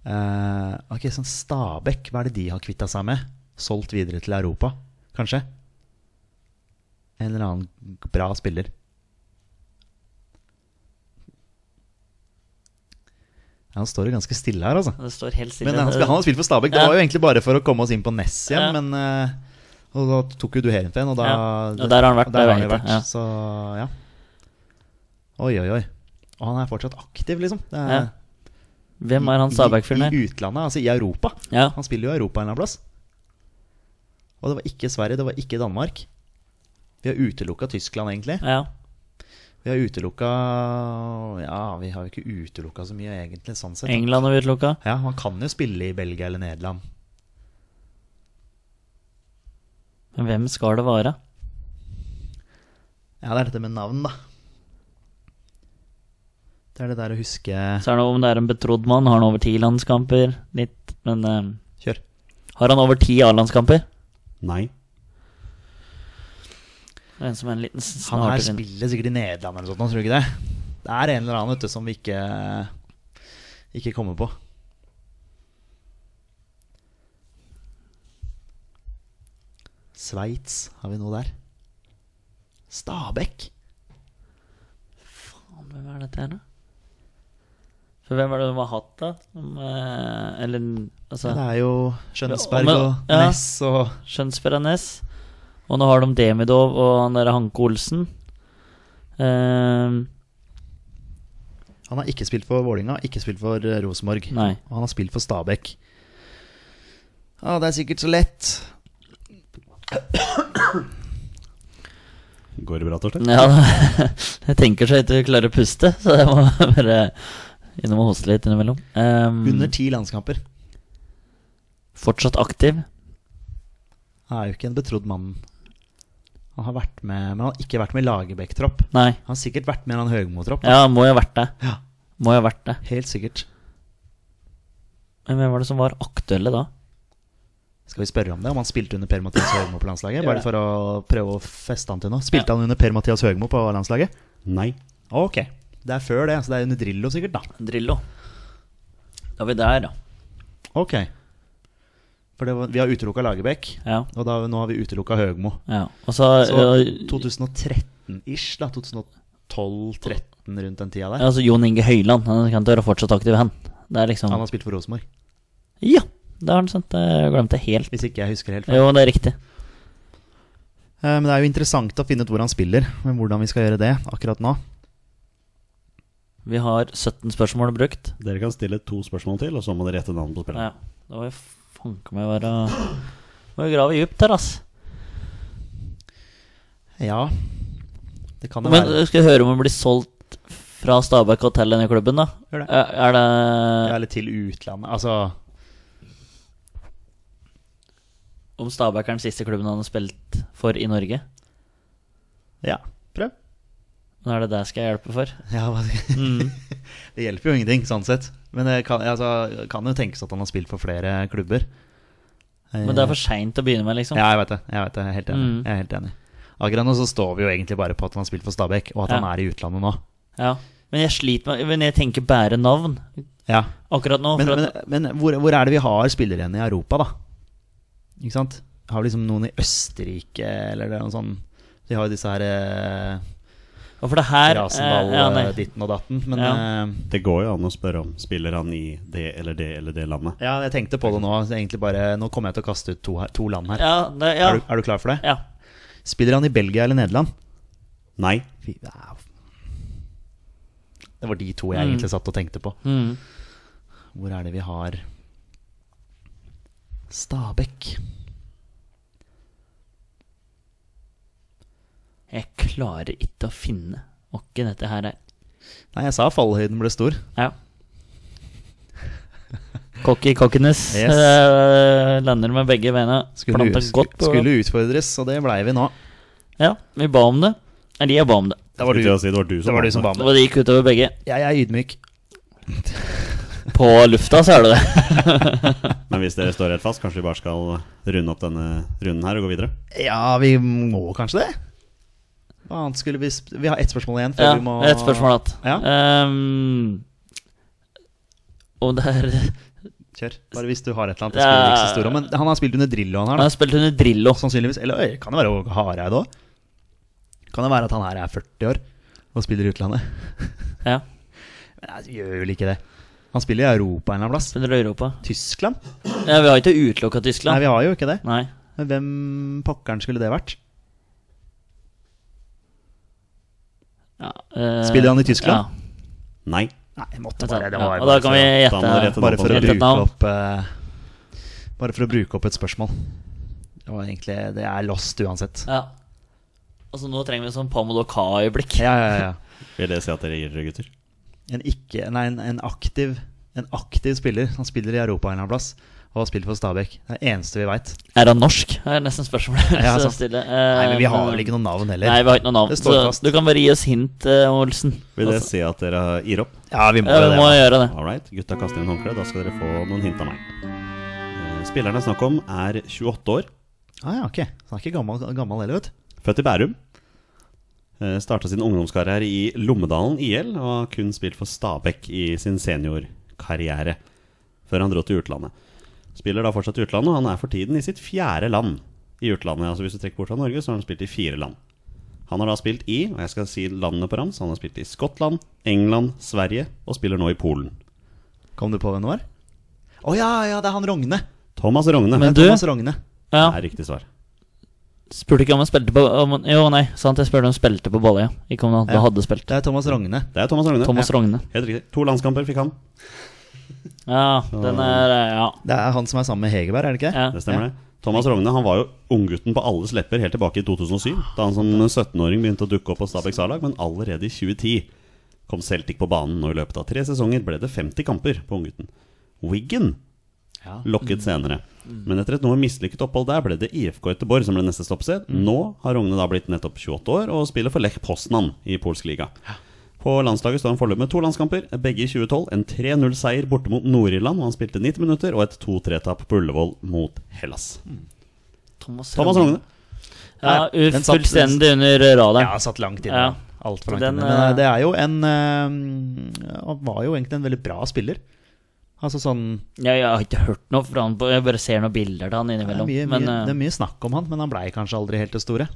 Speaker 2: Eh, ok, sånn Stabæk, hva er det de har kvitta seg med? Solgt videre til Europa, kanskje? En eller annen bra spiller. Ja, han står jo ganske stille her, altså.
Speaker 3: Det står helt stille.
Speaker 2: Men han, spil- han har spilt for Stabæk. Det
Speaker 3: Ja.
Speaker 2: var jo egentlig bare for å komme oss inn på Ness igjen,
Speaker 3: Ja.
Speaker 2: men eh, Og da tok jo du Heerenveen, og da
Speaker 3: Ja, og der har han vært,
Speaker 2: og
Speaker 3: det
Speaker 2: Der har han
Speaker 3: vet
Speaker 2: vært
Speaker 3: jeg, ja.
Speaker 2: Så ja. Oi, oi, oi. Og han er fortsatt aktiv, liksom. Det er,
Speaker 3: Ja. Hvem er han Stabæk-fyren her?
Speaker 2: I, I utlandet, altså i Europa.
Speaker 3: Ja.
Speaker 2: Han spiller jo i Europa en eller annen plass. Og det var ikke Sverige, det var ikke Danmark. Vi har utelukka Tyskland, egentlig.
Speaker 3: ja.
Speaker 2: Vi har utelukka Ja, vi har jo ikke utelukka så mye, egentlig, sånn sett.
Speaker 3: England har vi utelukka.
Speaker 2: Ja, han kan jo spille i Belgia eller Nederland.
Speaker 3: Men hvem skal det være?
Speaker 2: Ja, det er dette med navn, da. Det er det der å huske
Speaker 3: Så er det om det er en betrodd mann. Har han over ti landskamper? Litt, men eh,
Speaker 2: Kjør.
Speaker 3: Har han over ti A-landskamper?
Speaker 1: Nei.
Speaker 3: Det er En som er en liten s-
Speaker 2: Han her
Speaker 3: snartur inn.
Speaker 2: spiller sikkert i Nederland eller noe sånt, tror du ikke det? Det er en eller annen vet du, som vi ikke, ikke kommer på. Sveits, har vi noe der? Stabæk?
Speaker 3: Faen, Hvem er dette her, da? For hvem er det de har hatt, da? Som, eh, eller altså
Speaker 2: Det er jo
Speaker 3: Ja,
Speaker 2: Skjønnesberg
Speaker 3: men-
Speaker 2: og
Speaker 3: ja.
Speaker 2: Ness og
Speaker 3: Skjønnsberanes. Og nå har de Demidov og han derre Hanke Olsen. Ehm,
Speaker 2: Han har ikke spilt for Vålinga, ikke spilt for eh, Rosenborg.
Speaker 3: nei.
Speaker 2: Og han har spilt for Stabæk. Ja, det er sikkert så lett.
Speaker 1: Går det bra, Torstein?
Speaker 3: Ja, jeg tenker så høyt jeg klarer å puste, så jeg må bare innom og hoste litt innimellom. Ehm,
Speaker 2: Under ti landskamper.
Speaker 3: fortsatt aktiv.
Speaker 2: Han er jo ikke en betrodd mann. Han har vært med, men han har ikke vært med i Lagerbäck-tropp.
Speaker 3: Nei.
Speaker 2: Han har sikkert vært med i en annen Høgmo-tropp.
Speaker 3: Ja, må jo ha vært det.
Speaker 2: Ja.
Speaker 3: Må jo ha vært det.
Speaker 2: Helt sikkert.
Speaker 3: Men hvem var det som var aktuelle da?
Speaker 2: Skal vi spørre om det? Om han spilte under Per-Mathias Høgmo på landslaget?
Speaker 3: Gjør
Speaker 2: Bare
Speaker 3: det.
Speaker 2: for å prøve å feste han til noe. Spilte han under Per-Mathias Høgmo på landslaget?
Speaker 1: Nei.
Speaker 2: Ok. Det er før det, så det er under Drillo sikkert, da.
Speaker 3: Drillo. Da er vi der, da.
Speaker 2: Ok. For det var, vi har utelukka Lagerbäck,
Speaker 3: Ja.
Speaker 2: og da, nå har vi utelukka Høgmo.
Speaker 3: ja. Og så,
Speaker 2: Så
Speaker 3: øh,
Speaker 2: 2013-ish, da. 2012-13 rundt den tida der.
Speaker 3: altså Jon Inge Høyland. Han kan ikke være fortsatt aktiv, han. Det er liksom
Speaker 2: Han har spilt for Rosenborg,
Speaker 3: Ja! Det har han sant. Jeg glemte det helt.
Speaker 2: hvis ikke jeg husker helt feil.
Speaker 3: Jo, det er riktig.
Speaker 2: Eh, Men det er jo interessant å finne ut hvor han spiller, men hvordan vi skal gjøre det akkurat nå.
Speaker 3: Vi har 17 spørsmål brukt.
Speaker 1: Dere kan stille to spørsmål til, og så må dere gjette navnet på spilleren.
Speaker 3: Ja. Da må vi fanke meg være Må jo grave djupt her, ass.
Speaker 2: Ja, det kan jo
Speaker 3: Men eh,
Speaker 2: være.
Speaker 3: skal jeg høre om hun blir solgt fra Stabæk og til denne klubben, da?
Speaker 2: Gjør det.
Speaker 3: Er er det
Speaker 2: Ja, Eller til utlandet. Altså,
Speaker 3: Om Stabæk er den siste klubben han har spilt for i Norge?
Speaker 2: ja. Prøv.
Speaker 3: Nå er det det skal jeg hjelpe for.
Speaker 2: Ja, hva- Mm. det hjelper jo ingenting, sånn sett. Men det kan, altså, kan jo tenkes at han har spilt for flere klubber. Eh,
Speaker 3: Men det er for seint å begynne med, liksom.
Speaker 2: Ja, jeg vet det. Jeg, vet det. jeg er helt enig.
Speaker 3: Mm.
Speaker 2: Jeg er helt enig. Akkurat nå så står vi jo egentlig bare på at han har spilt for Stabæk, og at han
Speaker 3: Ja.
Speaker 2: er i utlandet nå.
Speaker 3: Ja. Men jeg sliter med Men jeg tenker bare navn
Speaker 2: Ja.
Speaker 3: akkurat nå.
Speaker 2: Men,
Speaker 3: for
Speaker 2: men,
Speaker 3: at,
Speaker 2: men hvor, hvor er det vi har spillere igjen i Europa, da? Ikke sant? Har vi liksom noen i Østerrike, eller det er noe sånn Vi har jo disse her eh,
Speaker 3: og for det her eh,
Speaker 2: Rasendal,
Speaker 3: ja, nei.
Speaker 2: eh, ditten og datten. Men
Speaker 3: Ja.
Speaker 2: eh,
Speaker 1: Det går jo an å spørre om spiller han i det eller det eller det landet.
Speaker 2: ja, jeg tenkte på det nå. så Egentlig bare, nå kommer jeg til å kaste ut to, her, to land her.
Speaker 3: ja, det, ja.
Speaker 2: Er, du, er du klar for det?
Speaker 3: ja.
Speaker 2: Spiller han i Belgia eller Nederland?
Speaker 1: Nei.
Speaker 2: Fy, ja. Det var de to jeg egentlig satt og tenkte på.
Speaker 3: Mm.
Speaker 2: Hvor er det vi har Stabæk.
Speaker 3: Jeg klarer ikke å finne åkken dette her er.
Speaker 2: Nei, jeg sa fallhøyden ble stor.
Speaker 3: Ja. Cocky Cockenes
Speaker 2: Yes.
Speaker 3: eh, lander med begge beina.
Speaker 2: Skulle,
Speaker 3: Planta
Speaker 2: ut-
Speaker 3: godt på
Speaker 2: skulle utfordres, og det blei vi nå.
Speaker 3: Ja, vi ba om det. Eller jeg ba om det.
Speaker 2: Det var du,
Speaker 1: Skulle sånn. til å si, det var du som
Speaker 2: det var du som ba om det.
Speaker 3: Og det gikk utover begge.
Speaker 2: Jeg er ydmyk.
Speaker 3: På lufta, så er det det.
Speaker 1: Men hvis dere står helt fast, kanskje vi bare skal runde opp denne runden her og gå videre?
Speaker 2: Ja, vi må kanskje det? Hva annet skulle vi sp Vi har ett spørsmål igjen. Før
Speaker 3: Ja,
Speaker 2: vi må
Speaker 3: Et spørsmål igjen.
Speaker 2: Ja.
Speaker 3: Ehm, og det er
Speaker 2: Kjør. Bare hvis du har et eller annet. Det
Speaker 3: Ja.
Speaker 2: spiller ikke så stor rolle, Men han har spilt under Drillo, han
Speaker 3: Han
Speaker 2: her.
Speaker 3: har spilt under Drillo.
Speaker 2: Da. Sannsynligvis. Eller øy, kan det være Hareid òg? Kan det være at han her er 40 år og spiller i utlandet?
Speaker 3: Ja,
Speaker 2: Men jeg gjør vel ikke det. Han spiller i Europa en eller annen plass.
Speaker 3: Spiller i Europa.
Speaker 2: Tyskland?
Speaker 3: Ja, vi har ikke utelukka
Speaker 2: Nei,
Speaker 3: Tyskland.
Speaker 2: vi har jo ikke det.
Speaker 3: Nei.
Speaker 2: Men hvem pokkeren skulle det vært?
Speaker 3: Ja, eh,
Speaker 2: Spiller han i Tyskland?
Speaker 3: eh, Ja.
Speaker 1: Nei.
Speaker 2: Nei, jeg måtte
Speaker 3: Ja,
Speaker 2: bare det.
Speaker 3: og
Speaker 2: Var
Speaker 3: da
Speaker 2: bare,
Speaker 3: kan vi
Speaker 2: for,
Speaker 1: Da må
Speaker 3: gjette.
Speaker 1: dere gjette
Speaker 2: å, bare for å
Speaker 1: navn på
Speaker 3: den.
Speaker 2: bruke opp eh, Bare for å bruke opp et spørsmål. Det var egentlig Det er lost uansett.
Speaker 3: Ja. Altså, nå trenger vi sånn Pamoloka-øyeblikk.
Speaker 2: Ja, ja, ja.
Speaker 1: Vil det si at dere gir dere, gutter?
Speaker 2: en, ikke, nei, en, en, aktiv, en aktiv spiller som spiller i Europa en eller annen plass, og har spilt for Stabæk. Det er det eneste vi veit.
Speaker 3: Er han norsk? er nesten spørsmålet.
Speaker 2: Ja,
Speaker 3: Så
Speaker 2: sant.
Speaker 3: stille.
Speaker 2: Nei, men vi
Speaker 3: Eh,
Speaker 2: har vel ikke noe navn heller.
Speaker 3: Nei, vi har ikke noe navn.
Speaker 2: Det står
Speaker 3: Så
Speaker 2: fast.
Speaker 3: du kan bare gi oss hint, eh, Olsen.
Speaker 1: Vil det
Speaker 3: Altså,
Speaker 1: si at dere gir opp?
Speaker 2: Ja, vi må
Speaker 3: ja,
Speaker 2: jo
Speaker 3: vi
Speaker 2: det.
Speaker 3: må
Speaker 2: da.
Speaker 3: gjøre det.
Speaker 1: All right, gutta kaster inn håndkleet. Da skal dere få noen hint av meg. Eh, Spilleren det er snakk om, er 28 år,
Speaker 2: Ah, ja, ok. Så han er ikke gammel, gammel heller, vet du.
Speaker 1: født i Bærum. Starta sin ungdomskarriere i Lommedalen IL og har kun spilt for Stabæk i sin seniorkarriere. Før han dro til utlandet. Spiller da fortsatt i utlandet, og han er for tiden i sitt fjerde land i utlandet. Altså Hvis du trekker bort fra Norge, så har han spilt i fire land. Han har da spilt i, og jeg skal si landene på rams, han har spilt i Skottland, England, Sverige og spiller nå i Polen.
Speaker 2: Kom du på hvem det var? Å ja, ja, det er han Rogne.
Speaker 1: Thomas Rogne
Speaker 3: Men du
Speaker 2: Thomas Rogne.
Speaker 3: ja,
Speaker 1: er riktig svar.
Speaker 3: spurte ikke om han spilte på om, han- Jo, nei, sant, jeg spurte om han spilte på Balløya. Ikke om han
Speaker 2: Ja.
Speaker 3: hadde spilt.
Speaker 2: Det er Thomas Rogne.
Speaker 1: Det er Thomas Rogne.
Speaker 3: Thomas
Speaker 1: Ja.
Speaker 3: Rogne.
Speaker 1: Helt riktig. To landskamper fikk han.
Speaker 3: Ja, den er eh, Ja.
Speaker 2: Det er han som er sammen med Hegerberg, er det ikke det?
Speaker 3: ja.
Speaker 1: Det stemmer det. Thomas Rogne han var jo unggutten på alles lepper helt tilbake i 2007, da han som 17-åring begynte å dukke opp på Stabæks A-lag, men allerede i 2010 kom Celtic på banen, og i løpet av tre sesonger ble det 50 kamper på unggutten. Wiggen
Speaker 2: Ja.
Speaker 3: Mm.
Speaker 1: lokket senere, men etter et noe mislykket opphold der ble det IFK Göteborg som ble neste stoppsted.
Speaker 3: Mm.
Speaker 1: Nå har Rogne da blitt nettopp 28 år og spiller for Lech Poznan i polsk liga. På landslaget står han foreløpig med to landskamper, begge i 2012. En 3-0-seier borte mot Nord-Irland, og han spilte 90 minutter, og et 2-3-tap på Ullevål mot Hellas.
Speaker 3: Thomas,
Speaker 1: Thomas
Speaker 3: Rogne.
Speaker 1: Rogne.
Speaker 3: Ja,
Speaker 2: Nei, den satt-
Speaker 3: fullstendig under radaren.
Speaker 2: Ja, satt langt inne.
Speaker 3: Ja.
Speaker 2: Alt for langt
Speaker 3: Den,
Speaker 2: inne. Men eh,
Speaker 3: eh,
Speaker 2: det er jo en eh, Han var jo egentlig en veldig bra spiller. Altså sånn
Speaker 3: Ja, jeg har ikke hørt noe fra han på Jeg bare ser noen bilder av han
Speaker 2: det er,
Speaker 3: innimellom.
Speaker 2: mye,
Speaker 3: men
Speaker 2: mye,
Speaker 3: eh,
Speaker 2: det er mye snakk om han, men han blei kanskje aldri helt det store.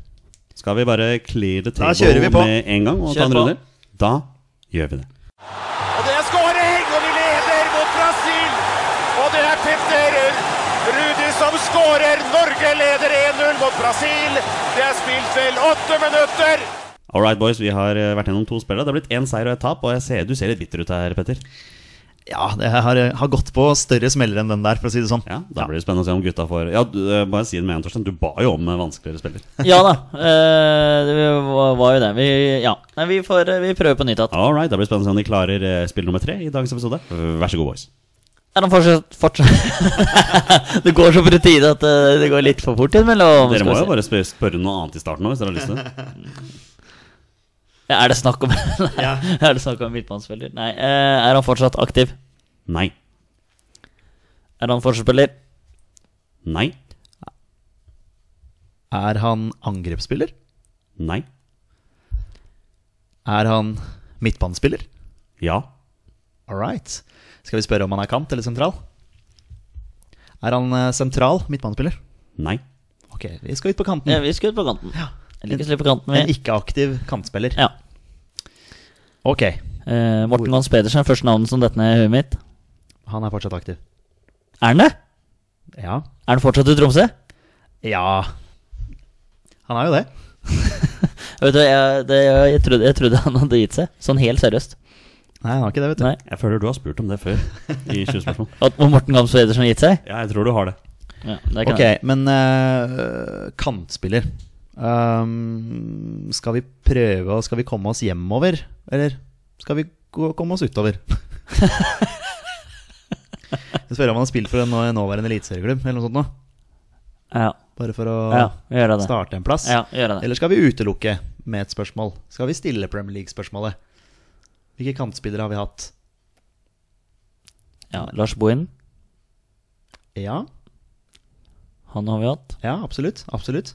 Speaker 1: Skal vi bare clear the
Speaker 2: Da kjører vi
Speaker 1: table
Speaker 2: på.
Speaker 1: med en gang og
Speaker 3: Kjør
Speaker 1: ta en
Speaker 3: på.
Speaker 1: runde? Da gjør vi det.
Speaker 5: Og det er skåring, og vi leder mot Brasil! Og det er Petter Rudi som skårer. Norge leder 1-0 mot Brasil. Det er spilt vel åtte minutter.
Speaker 1: All right, boys, vi har eh, vært gjennom to spillere. Det har blitt én seier og ett tap, og jeg ser, du ser litt bitter ut her, Petter.
Speaker 2: Ja, det har, eh, har gått på større smeller enn den der, for å si det sånn.
Speaker 1: Ja, Da blir det spennende å se om gutta får Ja, du, eh, bare si det med en, Torstein. Du ba jo om eh, vanskeligere spiller.
Speaker 3: ja da. eh, det var- var jo det. Vi, ja. Nei, vi, får, eh, vi prøver på nytt igjen.
Speaker 1: All right, da blir det spennende å se om de klarer eh, spill nummer tre i dagens episode. Vær så god, boys.
Speaker 3: Er han fortsatt, fortsatt? Det går så på rutine at eh, det går litt for fort innimellom.
Speaker 1: Dere
Speaker 3: skal
Speaker 1: må
Speaker 3: vi
Speaker 1: jo
Speaker 3: se.
Speaker 1: bare spørre, spørre noe annet i starten òg, hvis dere har lyst til det.
Speaker 3: Ja, Er det snakk om Nei, Er det snakk om midtbanespiller? Nei. eh, er han fortsatt aktiv?
Speaker 1: Nei.
Speaker 3: Er han fortsatt spiller?
Speaker 1: Nei.
Speaker 2: Er han angrepsspiller?
Speaker 1: Nei.
Speaker 2: Er han midtbanespiller?
Speaker 1: Ja.
Speaker 2: All right. Skal vi spørre om han er kant eller sentral? Er han eh, sentral midtbanespiller?
Speaker 1: Nei.
Speaker 2: Ok, vi skal ut på kanten.
Speaker 3: Ja, vi skal ut på kanten.
Speaker 2: Mm. Ja.
Speaker 3: Jeg liker å slippe kanten,
Speaker 2: En
Speaker 3: vi.
Speaker 2: ikke-aktiv kantspiller.
Speaker 3: Ja.
Speaker 2: Ok,
Speaker 3: Eh, Morten Gans Pedersen er første navnet som detter ned i huet mitt.
Speaker 2: han er fortsatt aktiv.
Speaker 3: Er han det?
Speaker 2: Ja.
Speaker 3: Er han fortsatt i Tromsø?
Speaker 2: Ja Han er jo det.
Speaker 3: Vet du, hva, jeg, det, jeg, jeg, trodde, jeg trodde han hadde gitt seg. Sånn helt seriøst.
Speaker 2: Nei, han har ikke det, vet du.
Speaker 3: Nei.
Speaker 1: Jeg føler du har spurt om det før i 20 spørsmål.
Speaker 3: At Morten Gams Pedersen har gitt seg?
Speaker 1: Ja, jeg tror du har det.
Speaker 3: Ja, det kan
Speaker 2: Ok,
Speaker 3: jeg.
Speaker 2: men eh, kantspiller Ehm, Skal vi prøve å Skal vi komme oss hjemover? Eller skal vi gå, komme oss utover? Jeg spør om han har spilt for en nå- nåværende eliteserieklubb eller noe sånt nå.
Speaker 3: Ja,
Speaker 2: Bare for å
Speaker 3: ja, gjør det.
Speaker 2: starte en plass.
Speaker 3: Ja, gjør det.
Speaker 2: Eller skal vi utelukke med et spørsmål? Skal vi stille Premier League-spørsmålet? Hvilke kantspillere har vi hatt?
Speaker 3: Ja, Lars Bohin,
Speaker 2: Ja,
Speaker 3: han har vi hatt.
Speaker 2: ja, absolutt. Absolutt.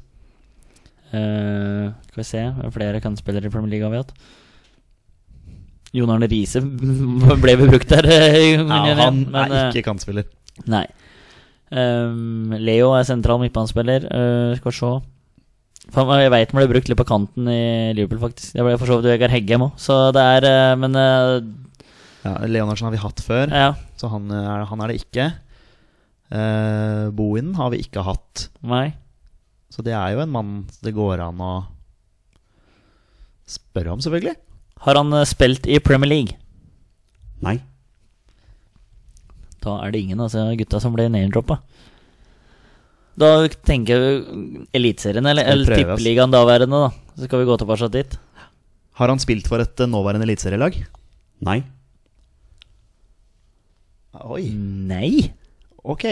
Speaker 3: Eh, skal vi se, flere kantspillere i Premier League har vi hatt. Jon Arne Riise ble bebrukt der. eh,
Speaker 2: Ja,
Speaker 3: men-
Speaker 2: han
Speaker 3: men,
Speaker 2: er
Speaker 3: eh,
Speaker 2: ikke kantspiller.
Speaker 3: Nei. Ehm, Leo er sentral midtbanespiller. Eh, skal vi se Faen, Jeg veit han ble brukt litt på kanten i Liverpool, faktisk. Det ble for så vidt Vegard Heggem òg, så det er eh, Men eh,
Speaker 2: Ja, Leonardsen har vi hatt før.
Speaker 3: ja.
Speaker 2: Så han er, han er det ikke. Eh, Bohin har vi ikke hatt.
Speaker 3: Nei.
Speaker 2: Så det er jo en mann det går an å spørre om, selvfølgelig.
Speaker 3: Har han eh, spilt i Premier League?
Speaker 1: Nei.
Speaker 3: Da er det ingen av altså, gutta som blir name-droppa. Da tenker jeg Eliteserien, eller,
Speaker 2: Skal vi
Speaker 3: eller
Speaker 2: prøve, altså? ass.
Speaker 3: Tippeligaen daværende, da. Så skal vi gå tilbake dit.
Speaker 2: Har han spilt for et eh, nåværende eliteserielag?
Speaker 1: Nei.
Speaker 2: Oi.
Speaker 3: Nei!
Speaker 2: Ok.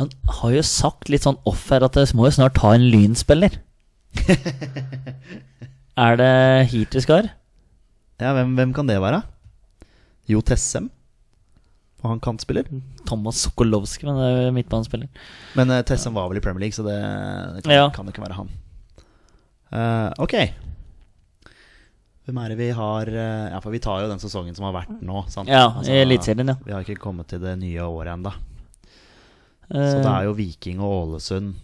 Speaker 3: Han har jo sagt litt sånn off her at det må jo snart ta en lynspiller. er det hit vi skal?
Speaker 2: Ja, hvem, hvem kan det være? Jo Tessem. Og han kantspiller.
Speaker 3: Thomas Sokolowski, men det er jo midtbanespiller.
Speaker 2: Men eh, Tessem var vel i Premier League, så det, det kan,
Speaker 3: Ja.
Speaker 2: kan jo ikke være han. Eh, ok. Hvem er det vi har eh, Ja, for vi tar jo den sesongen som har vært nå, sant?
Speaker 3: Ja,
Speaker 2: Altså,
Speaker 3: i Eliteserien, ja.
Speaker 2: Vi har ikke kommet til det nye året ennå.
Speaker 3: Eh,
Speaker 2: Så det er jo Viking og Ålesund